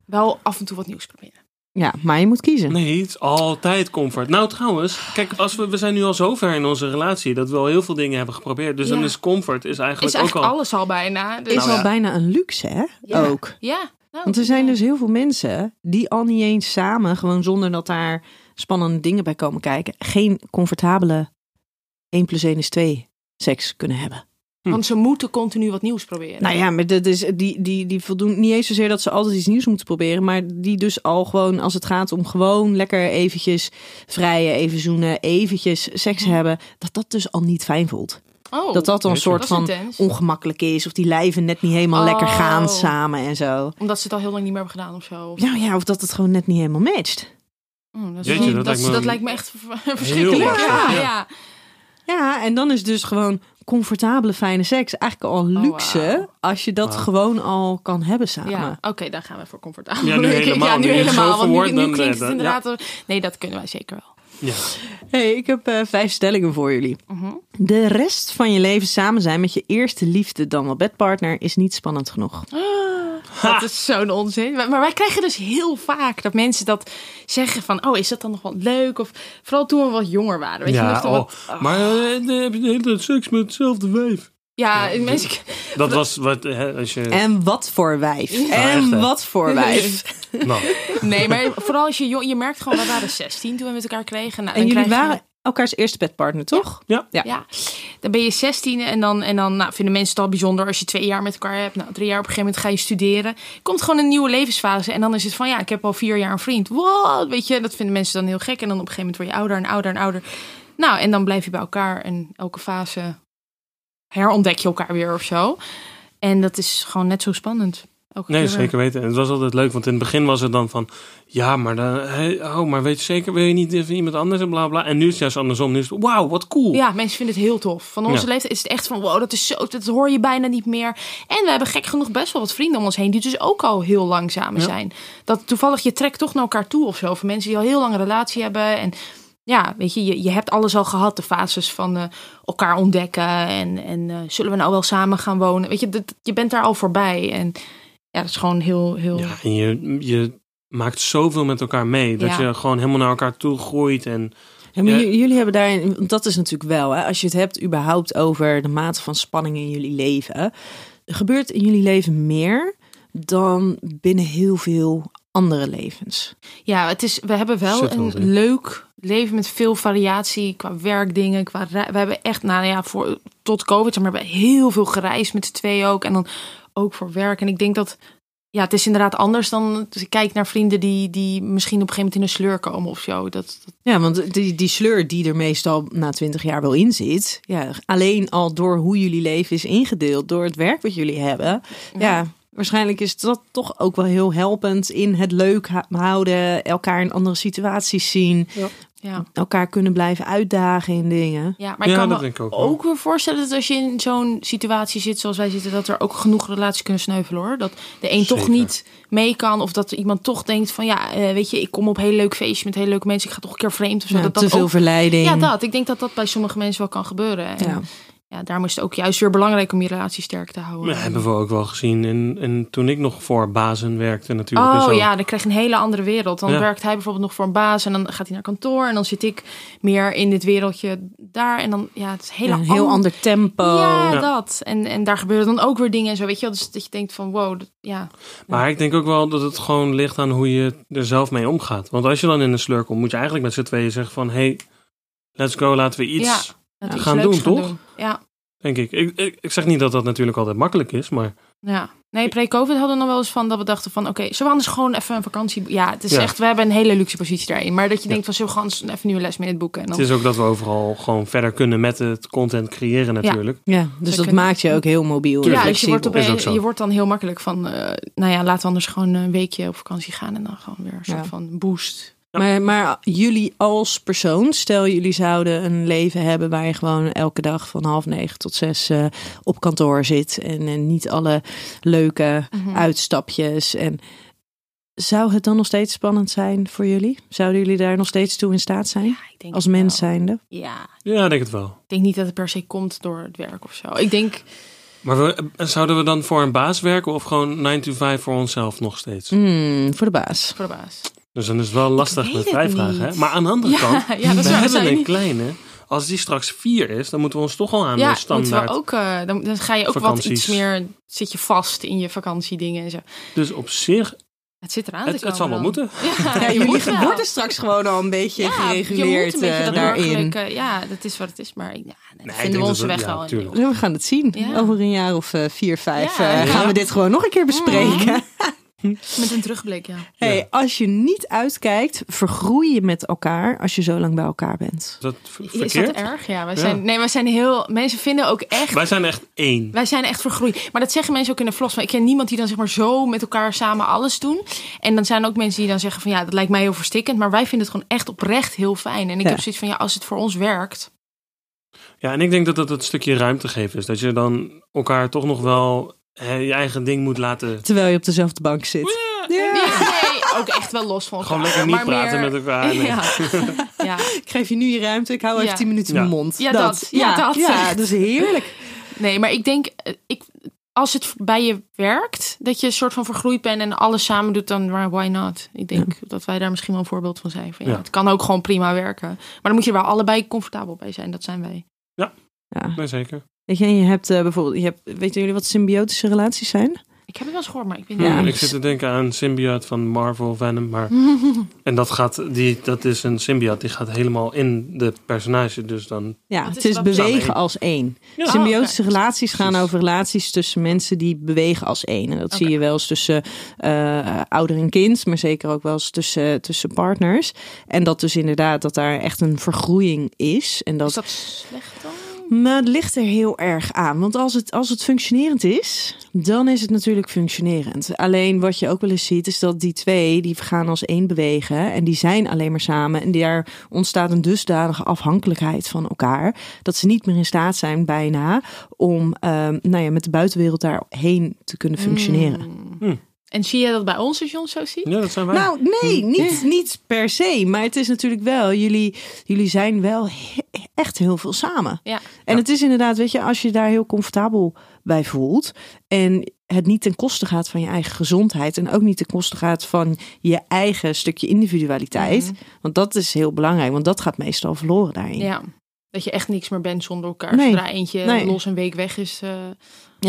Speaker 2: wel af en toe wat nieuws proberen.
Speaker 4: Ja, maar je moet kiezen.
Speaker 3: Nee, het is altijd comfort. Nou, trouwens, kijk, als we, we zijn nu al zo ver in onze relatie dat we al heel veel dingen hebben geprobeerd. Dus
Speaker 2: Ja.
Speaker 3: dan is comfort is eigenlijk,
Speaker 2: Is eigenlijk
Speaker 3: ook al.
Speaker 2: alles al bijna. Dus-
Speaker 4: Is
Speaker 3: Nou
Speaker 4: al
Speaker 3: ja.
Speaker 4: bijna een luxe, hè?
Speaker 2: Ja.
Speaker 4: Ook.
Speaker 2: Ja. nou,
Speaker 4: Want er zijn
Speaker 2: ja.
Speaker 4: dus heel veel mensen die al niet eens samen, gewoon zonder dat daar spannende dingen bij komen kijken, geen comfortabele 1 plus 1 is 2 seks kunnen hebben.
Speaker 2: Want ze moeten continu wat nieuws proberen.
Speaker 4: Hm. Nou ja, maar dat is, die, die, die voldoen niet eens zozeer dat ze altijd iets nieuws moeten proberen, maar die dus al gewoon, als het gaat om gewoon lekker eventjes vrijen, even zoenen, eventjes seks hebben, dat dat dus al niet fijn voelt.
Speaker 2: Oh,
Speaker 4: dat dat dan een
Speaker 3: jeetje.
Speaker 4: soort
Speaker 2: dat is
Speaker 4: van
Speaker 2: intens.
Speaker 4: ongemakkelijk is, of die lijven net niet helemaal
Speaker 2: Oh.
Speaker 4: lekker gaan samen en zo.
Speaker 2: Omdat ze het al heel lang niet meer hebben gedaan of zo.
Speaker 4: Nou ja, of dat het gewoon net niet helemaal matcht.
Speaker 2: Oh, dat, is
Speaker 3: Jeetje,
Speaker 2: wel-
Speaker 3: dat
Speaker 2: dat,
Speaker 3: lijkt
Speaker 2: is-
Speaker 3: me-
Speaker 2: dat lijkt me echt ver- verschrikkelijk.
Speaker 3: erg,
Speaker 2: Ja,
Speaker 3: ja.
Speaker 2: ja.
Speaker 4: Ja, en dan is dus gewoon comfortabele, fijne seks eigenlijk al
Speaker 2: Oh,
Speaker 4: luxe.
Speaker 2: wauw.
Speaker 4: Als je dat
Speaker 3: Wauw.
Speaker 4: gewoon al kan hebben samen.
Speaker 2: Ja, oké, daar gaan we voor comfortabel.
Speaker 3: Ja, nu
Speaker 2: Ik-
Speaker 3: helemaal.
Speaker 2: Ja,
Speaker 3: Nu
Speaker 2: nu
Speaker 3: je het zo
Speaker 2: helemaal. Want
Speaker 3: verwoordt,
Speaker 2: nu, nu
Speaker 3: dan,
Speaker 2: klinkt
Speaker 3: eh,
Speaker 2: het
Speaker 3: dan-
Speaker 2: inderdaad... Nee, dat kunnen wij zeker wel.
Speaker 3: Ja.
Speaker 4: hey, ik heb eh, vijf stellingen voor jullie.
Speaker 2: Mhm.
Speaker 4: De rest van je leven samen zijn met je eerste liefde dan wel bedpartner is niet spannend genoeg.
Speaker 2: Oh. Dat is zo'n onzin. Maar maar wij krijgen dus heel vaak dat mensen dat zeggen van... Oh, is dat dan nog wel leuk? Of vooral toen we wat jonger waren. Weet je, nog
Speaker 3: Ja,
Speaker 2: dat Ah.
Speaker 3: oh,
Speaker 2: wat-
Speaker 3: maar eh, dan heb je de hele tijd seks met hetzelfde wijf?
Speaker 2: ja, mensen...
Speaker 3: Dat was wat, hè, als je...
Speaker 4: En wat voor wijf.
Speaker 3: echt, hè?
Speaker 4: En wat voor wijf.
Speaker 3: Nou,
Speaker 2: Nee, maar vooral als je jong... Je merkt gewoon, wij waren 16 toen we met elkaar kregen. Nou,
Speaker 4: En jullie
Speaker 2: dan krijg je-
Speaker 4: waren elkaars eerste bedpartner, toch?
Speaker 3: ja.
Speaker 4: Ja.
Speaker 2: Ja, dan ben je 16 en dan, en dan nou, vinden mensen het al bijzonder als je twee jaar met elkaar hebt. Nou, drie jaar op een gegeven moment ga je studeren. Komt gewoon een nieuwe levensfase. En dan is het van ja, ik heb al vier jaar een vriend. Wow, weet je, dat vinden mensen dan heel gek. En dan op een gegeven moment word je ouder en ouder en ouder. Nou, en dan blijf je bij elkaar en elke fase herontdek je elkaar weer of zo. En dat is gewoon net zo spannend. Elke
Speaker 3: Nee,
Speaker 2: keer weer.
Speaker 3: zeker weten. En het was altijd leuk, want in het begin was het dan van... Ja, maar, dan, hé, oh, maar weet je zeker, wil je niet even iemand anders en bla bla. En nu is het juist andersom. Nu is het, wauw, wat cool.
Speaker 2: Ja, mensen vinden het heel tof. Van onze
Speaker 3: Ja.
Speaker 2: leeftijd is het echt van wow, dat is zo, dat hoor je bijna niet meer. En we hebben gek genoeg best wel wat vrienden om ons heen die dus ook al heel lang samen
Speaker 3: Ja.
Speaker 2: zijn. Dat toevallig je trekt toch naar elkaar toe of zo. Van mensen die al heel lang een relatie hebben en ja, weet je, je, je hebt alles al gehad. De fases van eh, elkaar ontdekken en, en eh, zullen we nou wel samen gaan wonen? Weet je, dat, je bent daar al voorbij. En ja, dat is gewoon heel, heel...
Speaker 3: Ja, en je, je maakt zoveel met elkaar mee. Dat
Speaker 2: Ja.
Speaker 3: je gewoon helemaal naar elkaar toe groeit. En
Speaker 4: Ja, maar
Speaker 3: Ja.
Speaker 4: j- jullie hebben daarin, want dat is natuurlijk wel, hè, als je het hebt überhaupt over de mate van spanning in jullie leven, er gebeurt in jullie leven meer dan binnen heel veel andere levens.
Speaker 2: Ja, het is, we hebben wel
Speaker 3: Zit wel
Speaker 2: een
Speaker 3: in.
Speaker 2: leuk leven met veel variatie qua werkdingen. Qua, re- we hebben echt, nou ja, voor, tot COVID, zeg maar we hebben heel veel gereisd met z'n twee ook. En dan ook voor werk. En ik denk dat, ja, het is inderdaad anders dan, dus ik kijk naar vrienden die, die misschien op een gegeven moment in een sleur komen of zo. Dat, dat-
Speaker 4: Ja, want die, die sleur die er meestal na twintig jaar wel in zit, ja, alleen al door hoe jullie leven is ingedeeld, door het werk wat jullie hebben, ja. Waarschijnlijk is dat toch ook wel heel helpend in het leuk ha- houden, elkaar in andere situaties zien,
Speaker 2: ja.
Speaker 4: elkaar kunnen blijven uitdagen in dingen.
Speaker 2: Ja, maar ik
Speaker 3: Ja,
Speaker 2: kan
Speaker 3: dat
Speaker 2: me
Speaker 3: denk ik ook
Speaker 2: ook,
Speaker 3: wel.
Speaker 2: weer voorstellen dat als je in zo'n situatie zit zoals wij zitten, dat er ook genoeg relaties kunnen sneuvelen hoor. Dat de een toch
Speaker 3: Zeker.
Speaker 2: niet mee kan of dat iemand toch denkt van ja, eh, weet je, ik kom op heel leuk feestje met hele leuke mensen, ik ga toch een keer vreemd of zo.
Speaker 4: Ja,
Speaker 2: dat, dat
Speaker 4: te veel
Speaker 2: ook-
Speaker 4: verleiding.
Speaker 2: Ja, dat. Ik denk dat dat bij sommige mensen wel kan gebeuren. En,
Speaker 4: Ja.
Speaker 2: ja. daarom is het ook juist weer belangrijk om je relatie sterk te houden.
Speaker 3: dat hebben we ook wel gezien. En, en toen ik nog voor bazen werkte natuurlijk. en zo.
Speaker 2: Oh ja, dan krijg je een hele andere wereld. Dan
Speaker 3: Ja.
Speaker 2: werkt hij bijvoorbeeld nog voor een baas en dan gaat hij naar kantoor. En dan zit ik meer in dit wereldje daar. En dan, ja, het is een hele
Speaker 4: Ja, een heel
Speaker 2: ander-
Speaker 4: ander
Speaker 3: Oh,
Speaker 4: tempo.
Speaker 2: Ja,
Speaker 3: Ja.
Speaker 2: dat. En, en daar gebeuren dan ook weer dingen en zo, weet je wel. Dus dat je denkt van, wow, dat- ja.
Speaker 3: Maar ik denk ook wel dat het gewoon ligt aan hoe je er zelf mee omgaat. Want als je dan in een sleur komt, moet je eigenlijk met z'n tweeën zeggen van... hey, let's go, laten we iets...
Speaker 2: Ja. Dat
Speaker 3: Ja,
Speaker 2: iets
Speaker 3: gaan
Speaker 2: leuks
Speaker 3: doen, toch?
Speaker 2: Ja,
Speaker 3: Denk ik. Ik, ik. ik zeg niet dat dat natuurlijk altijd makkelijk is, maar...
Speaker 2: ja. Nee, pre-covid hadden we nog wel eens van dat we dachten van, oké, zullen we anders gewoon even een vakantie... Ja, het is
Speaker 3: Ja.
Speaker 2: echt, we hebben een hele luxe positie daarin. Maar dat je
Speaker 3: Ja.
Speaker 2: denkt van, zullen we gewoon eens even nu een les in het boeken? En dan,
Speaker 3: Het is ook dat we overal gewoon verder kunnen met het content creëren natuurlijk.
Speaker 4: Ja, dus dat
Speaker 2: kunnen-
Speaker 4: maakt je ook heel mobiel. en
Speaker 2: ja, dus je
Speaker 4: flexibel.
Speaker 2: wordt,
Speaker 3: Is ook
Speaker 2: opeens,
Speaker 3: zo.
Speaker 2: je wordt dan heel makkelijk van, eh, nou ja, laten we anders gewoon een weekje op vakantie gaan. En dan gewoon weer een soort
Speaker 4: Ja.
Speaker 2: van boost.
Speaker 4: maar, maar jullie als persoon, stel jullie zouden een leven hebben waar je gewoon elke dag van half negen tot zes eh, op kantoor zit. En, eh, niet alle leuke uitstapjes. En zou het dan nog steeds spannend zijn voor jullie? Zouden jullie daar nog steeds toe in staat zijn?
Speaker 2: Ja, ik denk
Speaker 4: Als
Speaker 2: het
Speaker 4: mens
Speaker 2: wel.
Speaker 4: zijnde?
Speaker 2: Ja,
Speaker 3: Ja, ik denk het wel.
Speaker 2: ik denk niet dat het per se komt door het werk of zo. Ik denk,
Speaker 3: Maar we, eh, zouden we dan voor een baas werken of gewoon 9 to 5 voor onszelf nog steeds?
Speaker 4: Hmm, voor de baas.
Speaker 2: voor de baas.
Speaker 3: Dus dan is het wel lastig
Speaker 2: Mm. weet
Speaker 3: met
Speaker 2: het
Speaker 3: wij vragen. Hè?
Speaker 2: niet.
Speaker 3: Maar aan de andere
Speaker 2: Ja,
Speaker 3: kant,
Speaker 2: ja, dat is
Speaker 3: we
Speaker 2: waar, dat zou
Speaker 3: hebben
Speaker 2: je
Speaker 3: een
Speaker 2: niet-
Speaker 3: kleine. Als die straks vier is, dan moeten we ons toch al aan
Speaker 2: ja,
Speaker 3: de
Speaker 2: moeten
Speaker 3: standaard.
Speaker 2: we ook, eh, dan, dan ga je ook
Speaker 3: vakanties.
Speaker 2: wat iets meer, zit je vast in je vakantiedingen en zo.
Speaker 3: Dus op zich,
Speaker 2: Het zit eraan te
Speaker 3: het,
Speaker 2: komen
Speaker 3: het zal wel
Speaker 2: dan.
Speaker 3: moeten.
Speaker 2: Ja,
Speaker 4: Ja,
Speaker 2: je
Speaker 4: jullie
Speaker 2: moet wel.
Speaker 4: worden straks gewoon al een beetje
Speaker 2: Ja, je moet
Speaker 4: gereguleerd
Speaker 2: een beetje
Speaker 4: eh,
Speaker 2: dat
Speaker 4: daarin.
Speaker 2: burgerlijke- ja, dat is wat het is, maar ik- ja, dat
Speaker 3: ik denk
Speaker 2: vinden we
Speaker 3: dat
Speaker 2: onze
Speaker 3: we-
Speaker 2: weg
Speaker 3: ja,
Speaker 2: wel. in.
Speaker 3: tuurlijk.
Speaker 4: We gaan het zien.
Speaker 2: Ja.
Speaker 4: Over een jaar of eh, vier, vijf
Speaker 2: Ja.
Speaker 4: eh, gaan we dit gewoon nog een keer bespreken.
Speaker 2: Met een terugblik, ja.
Speaker 4: Hey, Als je niet uitkijkt, vergroei je met elkaar als je zo lang bij elkaar bent.
Speaker 3: Is dat ver-
Speaker 2: Is dat
Speaker 3: verkeerd?
Speaker 2: erg? Ja, wij
Speaker 3: Ja.
Speaker 2: zijn, nee, wij zijn heel, mensen vinden ook echt,
Speaker 3: Wij zijn echt één.
Speaker 2: wij zijn echt vergroeid. Maar dat zeggen mensen ook in de vlogs. Maar ik ken niemand die dan zeg maar zo met elkaar samen alles doen. En dan zijn er ook mensen die dan zeggen van ja, dat lijkt mij heel verstikkend. Maar wij vinden het gewoon echt oprecht heel fijn. En ik
Speaker 4: Ja.
Speaker 2: heb zoiets van ja, als het voor ons werkt.
Speaker 3: Ja, en ik denk dat dat het stukje ruimte geven is. Dat je dan elkaar toch nog wel hè, je eigen ding moet laten.
Speaker 4: Terwijl je op dezelfde bank zit. Ja.
Speaker 2: Nee, ook echt wel los van elkaar.
Speaker 3: Gewoon lekker niet
Speaker 2: maar meer-
Speaker 3: praten met elkaar. Nee.
Speaker 2: Ja. ja.
Speaker 4: Ik geef je nu je ruimte. Ik hou even
Speaker 2: Ja.
Speaker 4: tien minuten mijn
Speaker 3: Ja.
Speaker 4: mond.
Speaker 2: Ja, dat. Ja, dat.
Speaker 4: Ja, dat is heerlijk.
Speaker 2: Nee, maar ik denk, eh, ik, als het bij je werkt, dat je een soort van vergroeid bent en alles samen doet, dan waar- why not? Ik denk dat wij daar misschien wel een voorbeeld van zijn. Van, ja,
Speaker 3: Ja.
Speaker 2: Het kan ook gewoon prima werken. Maar dan moet je er wel allebei comfortabel bij zijn. Dat zijn wij.
Speaker 4: Ja.
Speaker 3: Nee, zeker.
Speaker 4: Weet je, en je hebt eh, bijvoorbeeld, je hebt, weten jullie wat symbiotische relaties zijn?
Speaker 2: Ik heb het wel eens gehoord, maar ik weet
Speaker 4: Ja.
Speaker 3: Hmm,
Speaker 2: niet.
Speaker 3: ik zit te denken aan symbiote van Marvel, Venom. Maar... En dat, gaat, die, dat is een symbiote die gaat helemaal in de personage. Dus dan...
Speaker 4: Ja,
Speaker 2: Wat is
Speaker 4: het is
Speaker 2: dat?
Speaker 4: bewegen
Speaker 3: Samen.
Speaker 4: als één.
Speaker 3: Ja.
Speaker 4: Symbiotische
Speaker 2: Oh, oké.
Speaker 4: relaties gaan
Speaker 3: Precies.
Speaker 4: over relaties tussen mensen die bewegen als één. En dat
Speaker 2: Oké.
Speaker 4: zie je wel eens tussen eh, ouder en kind, maar zeker ook wel eens tussen, tussen partners. En dat dus inderdaad, dat daar echt een vergroeiing is. En dat,
Speaker 2: Is dat slecht dan?
Speaker 4: Maar het ligt er heel erg aan. Want als het, als het functionerend is, dan is het natuurlijk functionerend. Alleen wat je ook wel eens ziet, is dat die twee, die gaan als één bewegen. En die zijn alleen maar samen. En daar ontstaat een dusdanige afhankelijkheid van elkaar. Dat ze niet meer in staat zijn bijna om ehm, nou ja, met de buitenwereld daarheen te kunnen functioneren.
Speaker 3: Hmm.
Speaker 2: En zie je dat bij ons als je ons zo ziet?
Speaker 3: Ja, dat zijn wij.
Speaker 4: Nou, nee, niet, niet per se. Maar het is natuurlijk wel, jullie, jullie zijn wel he- echt heel veel samen.
Speaker 2: Ja.
Speaker 4: En
Speaker 3: Ja.
Speaker 4: het is inderdaad, weet je, als je daar heel comfortabel bij voelt en het niet ten koste gaat van je eigen gezondheid en ook niet ten koste gaat van je eigen stukje individualiteit, want dat is heel belangrijk, want dat gaat meestal verloren daarin.
Speaker 2: Mhm. ja. Dat je echt niks meer bent zonder elkaar.
Speaker 4: Nee.
Speaker 2: Zodra eentje
Speaker 4: Nee.
Speaker 2: los een week weg is. eh,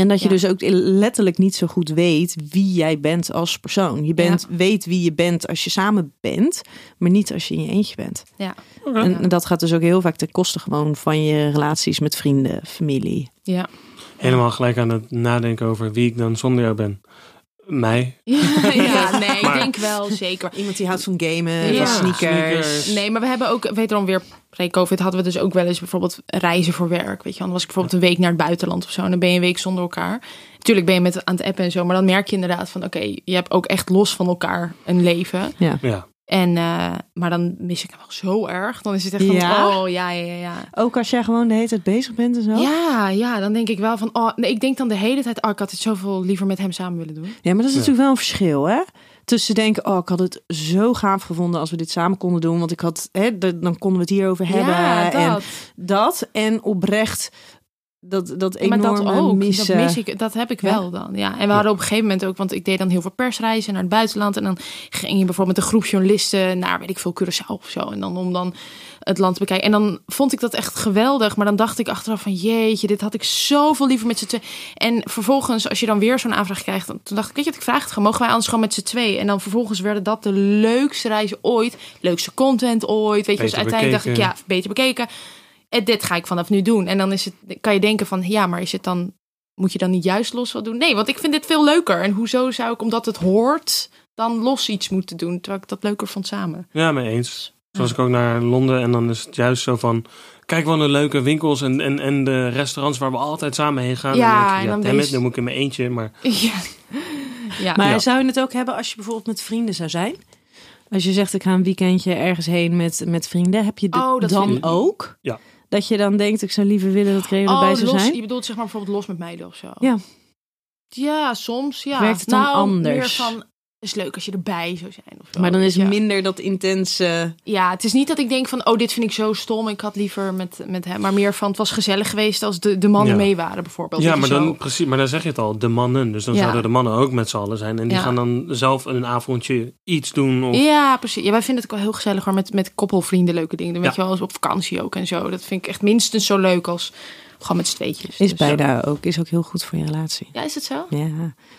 Speaker 4: En dat je
Speaker 2: Ja.
Speaker 4: dus ook letterlijk niet zo goed weet wie jij bent als persoon. Je bent, weet wie je bent als je samen bent, maar niet als je in je eentje bent.
Speaker 2: ja.
Speaker 3: Oké.
Speaker 4: En, en dat gaat dus ook heel vaak ten koste gewoon van je relaties met vrienden, familie.
Speaker 2: Ja.
Speaker 3: Helemaal gelijk aan het nadenken over wie ik dan zonder jou ben. Mij.
Speaker 2: Ja, nee, ik
Speaker 3: Maar-
Speaker 2: denk wel zeker.
Speaker 4: Iemand die houdt van gamen,
Speaker 2: Ja.
Speaker 4: van sneakers.
Speaker 2: Nee, maar we hebben ook, wederom weer pre-covid, hadden we dus ook wel eens bijvoorbeeld reizen voor werk. Weet je, dan was ik bijvoorbeeld een week naar het buitenland of zo. En dan ben je een week zonder elkaar. Natuurlijk ben je met aan het appen en zo, maar dan merk je inderdaad van, oké, je hebt ook echt los van elkaar een leven.
Speaker 3: Ja.
Speaker 2: En, eh, maar dan mis ik hem wel zo erg. Dan is het echt van,
Speaker 4: Ja?
Speaker 2: oh ja, ja, ja, ja.
Speaker 4: Ook als jij gewoon de hele tijd bezig bent en zo.
Speaker 2: Ja, ja, dan denk ik wel van, oh, nee, ik denk dan de hele tijd, oh, ik had het zoveel liever met hem samen willen doen.
Speaker 4: Ja, maar dat is
Speaker 3: Ja.
Speaker 4: natuurlijk wel een verschil, hè? Tussen denken, oh, ik had het zo gaaf gevonden als we dit samen konden doen. Want ik had, hè, de- dan konden we het hierover hebben.
Speaker 2: ja,
Speaker 4: En
Speaker 2: dat.
Speaker 4: dat en oprecht dat, dat
Speaker 2: maar
Speaker 4: enorme
Speaker 2: dat ook,
Speaker 4: missen.
Speaker 2: dat mis ik, dat heb ik
Speaker 4: Ja.
Speaker 2: wel dan. Ja. En we hadden op een gegeven moment ook, want ik deed dan heel veel persreizen naar het buitenland. En dan ging je bijvoorbeeld met een groep journalisten naar, weet ik veel, Curaçao of zo. En dan om dan het land te bekijken. En dan vond ik dat echt geweldig. Maar dan dacht ik achteraf van, jeetje, dit had ik zoveel liever met z'n tweeën. En vervolgens, als je dan weer zo'n aanvraag krijgt, dan toen dacht ik, weet je wat, ik vraag het gewoon. Mogen wij anders gewoon met z'n tweeën? En dan vervolgens werden dat de leukste reizen ooit. Leukste content ooit. Weet je, dus
Speaker 3: Beter
Speaker 2: uiteindelijk dacht ik,
Speaker 3: bekeken.
Speaker 2: ja, beter bekeken. En dit ga ik vanaf nu doen. En dan is het, kan je denken van, ja, maar is het dan, moet je dan niet juist los wat doen? Nee, want ik vind dit veel leuker. En hoezo zou ik, omdat het hoort, dan los iets moeten doen? Terwijl ik dat leuker vond samen.
Speaker 3: Ja, mee eens. Zoals ik ook naar Londen en dan is het juist zo van... Kijk wel naar leuke winkels en, en, en de restaurants waar we altijd samen heen gaan.
Speaker 2: Ja,
Speaker 3: dan denk je,
Speaker 2: en dan
Speaker 3: damn
Speaker 2: wees-
Speaker 3: it, dan moet ik in mijn eentje. Maar
Speaker 2: Ja. ja.
Speaker 4: Maar
Speaker 3: Ja.
Speaker 4: zou je het ook hebben als je bijvoorbeeld met vrienden zou zijn? Als je zegt, ik ga een weekendje ergens heen met, met vrienden. Heb je dit
Speaker 2: Oh, dat
Speaker 4: dan
Speaker 2: vind ik-
Speaker 4: ook?
Speaker 3: Ja.
Speaker 4: Dat je dan denkt, ik zou liever willen dat Greg
Speaker 2: oh,
Speaker 4: erbij zou
Speaker 2: los,
Speaker 4: zijn?
Speaker 2: je bedoelt zeg maar bijvoorbeeld los met meiden of zo?
Speaker 4: Ja.
Speaker 2: Ja, soms ja.
Speaker 4: Werkt het dan
Speaker 2: nou,
Speaker 4: anders?
Speaker 2: Meer van, is leuk als je erbij zou zijn. Of zo,
Speaker 4: Maar dan
Speaker 2: weet
Speaker 4: is
Speaker 2: je.
Speaker 4: minder dat intense.
Speaker 2: Ja, het is niet dat ik denk van, oh, dit vind ik zo stom. Ik had liever met, met hem. Maar meer van, het was gezellig geweest als de, de mannen
Speaker 3: Ja.
Speaker 2: mee waren bijvoorbeeld.
Speaker 3: Ja,
Speaker 2: Weet
Speaker 3: maar
Speaker 2: je
Speaker 3: dan,
Speaker 2: zo.
Speaker 3: precies, maar dan zeg je het al, de mannen. Dus dan
Speaker 2: Ja.
Speaker 3: zouden de mannen ook met z'n allen zijn. En die
Speaker 2: Ja.
Speaker 3: gaan dan zelf een avondje iets doen. Of,
Speaker 2: Ja, precies. Ja, wij vinden het ook wel heel gezellig hoor, met, met koppelvrienden leuke dingen. Dan weet
Speaker 3: Ja.
Speaker 2: je wel, eens op vakantie ook en zo. Dat vind ik echt minstens zo leuk als gewoon met z'n tweetjes.
Speaker 4: Is
Speaker 2: Dus,
Speaker 4: bijna ook. Is ook heel goed voor je relatie.
Speaker 2: Ja, is dat zo?
Speaker 4: Ja,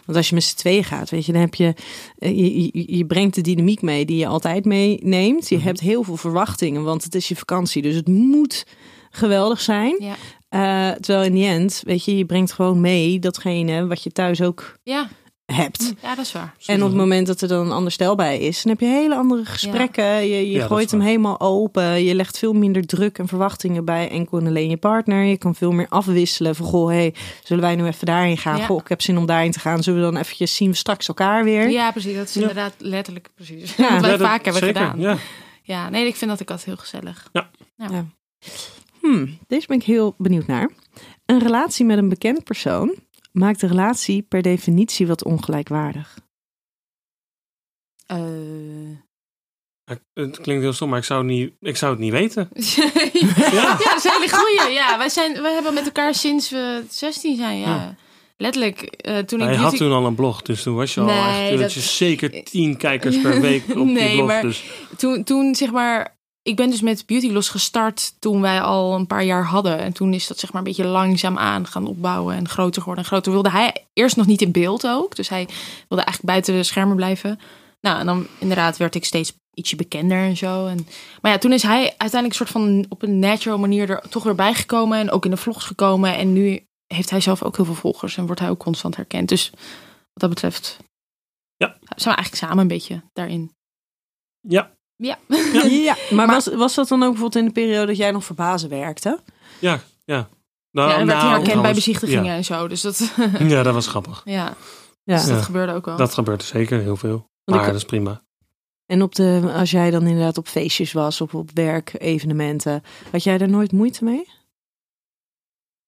Speaker 4: want als je met z'n tweeën gaat, weet je, dan heb je, eh, je, je, je brengt de dynamiek mee die je altijd meeneemt. Je hebt heel veel verwachtingen, want het is je vakantie, dus het moet geweldig zijn.
Speaker 2: Ja.
Speaker 4: Eh, terwijl in die end, weet je, je brengt gewoon mee datgene wat je thuis ook
Speaker 2: Ja,
Speaker 4: hebt.
Speaker 2: ja dat is waar.
Speaker 4: En op het moment dat er dan een ander stel bij is, dan heb je hele andere gesprekken. Je, je
Speaker 3: Ja, dat
Speaker 4: gooit
Speaker 3: is
Speaker 4: hem
Speaker 3: waar.
Speaker 4: helemaal open. Je legt veel minder druk en verwachtingen bij enkel en alleen je partner. Je kan veel meer afwisselen. Van goh, hey, zullen wij nu even daarheen gaan?
Speaker 2: Ja.
Speaker 4: Goh, ik heb zin om daarheen te gaan. Zullen we dan eventjes zien we straks elkaar weer?
Speaker 2: Ja, precies. Dat is
Speaker 3: Ja.
Speaker 2: inderdaad letterlijk precies.
Speaker 4: Ja.
Speaker 2: Wat wij
Speaker 3: Ja, dat-
Speaker 2: vaak hebben
Speaker 3: zeker,
Speaker 2: gedaan. Ja.
Speaker 3: Ja.
Speaker 2: nee, ik vind dat ik altijd heel gezellig.
Speaker 4: Hmm, deze ben ik heel benieuwd naar. Een relatie met een bekend persoon maakt de relatie per definitie wat ongelijkwaardig.
Speaker 3: Ja, Het klinkt heel stom, maar ik zou, niet, ik zou het niet weten.
Speaker 2: ja. dat is een hele goeie. Ja, wij, zijn, wij hebben met elkaar sinds we 16 zijn, ja.
Speaker 3: Ja.
Speaker 2: Letterlijk, eh, toen ik
Speaker 3: Hij had
Speaker 2: beauty...
Speaker 3: toen al een blog, dus toen was je al
Speaker 2: Nee,
Speaker 3: echt... Dat...
Speaker 2: dat- eh,
Speaker 3: je zeker tien kijkers per week op die
Speaker 2: Nee,
Speaker 3: blog.
Speaker 2: maar-
Speaker 3: Dus
Speaker 2: toen, toen zeg maar. Ik ben dus met Beauty Loss gestart toen wij al een paar jaar hadden. En toen is dat zeg maar een beetje langzaam aan gaan opbouwen en groter geworden en groter. Wilde hij eerst nog niet in beeld ook. Dus hij wilde eigenlijk buiten de schermen blijven. Nou, en dan inderdaad werd ik steeds ietsje bekender en zo. En, maar ja, toen is hij uiteindelijk soort van op een natural manier er toch weer bij gekomen. En ook in de vlogs gekomen. En nu heeft hij zelf ook heel veel volgers en wordt hij ook constant herkend. Dus wat dat betreft
Speaker 3: Ja.
Speaker 2: zijn we eigenlijk samen een beetje daarin.
Speaker 3: ja,
Speaker 2: Ja.
Speaker 4: Ja, maar,
Speaker 2: Maar-
Speaker 4: was, was dat dan ook bijvoorbeeld in de periode dat jij nog verbazen werkte?
Speaker 3: ja, ja. Nou,
Speaker 2: ja, en werd
Speaker 3: nou,
Speaker 2: hij herkend bij
Speaker 3: trouwens,
Speaker 2: bezichtigingen en zo. Dus dat, ja,
Speaker 3: Ja. ja, dat was grappig.
Speaker 4: Ja.
Speaker 2: dus dat gebeurde ook wel.
Speaker 3: Dat gebeurt zeker heel veel.
Speaker 4: ik-
Speaker 3: Maar dat is prima.
Speaker 4: En op de, als jij dan inderdaad op feestjes was, of op werk, evenementen, had jij daar nooit moeite mee?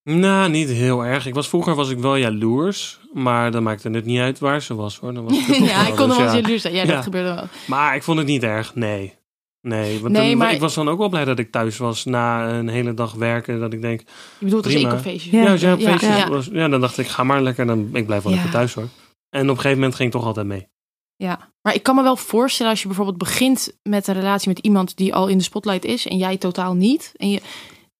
Speaker 3: Nou, niet heel erg. Ik was, vroeger was ik wel jaloers, maar dat maakte het niet uit waar ze was hoor. Dan was ik er toch
Speaker 2: ja,
Speaker 3: wel,
Speaker 2: ik kon er
Speaker 3: dus
Speaker 2: wel
Speaker 3: ja.
Speaker 2: eens jaloers zijn. Ja,
Speaker 3: Ja.
Speaker 2: dat gebeurde wel.
Speaker 3: Maar ik vond het niet erg, nee. Nee, want
Speaker 2: Nee,
Speaker 3: dan-
Speaker 2: maar-
Speaker 3: ik was dan ook wel blij dat ik thuis was na een hele dag werken. Dat ik denk,
Speaker 2: Je bedoelt als ik
Speaker 3: Prima.
Speaker 2: op feestjes
Speaker 4: Ja.
Speaker 3: ja, als jij op
Speaker 2: ja,
Speaker 3: feestjes
Speaker 2: ja.
Speaker 3: was, ja, dan dacht ik, ga maar lekker, dan, ik blijf wel
Speaker 2: Ja.
Speaker 3: lekker thuis hoor. En op een gegeven moment ging ik toch altijd mee.
Speaker 2: Ja, maar ik kan me wel voorstellen als je bijvoorbeeld begint met een relatie met iemand die al in de spotlight is en jij totaal niet. En je,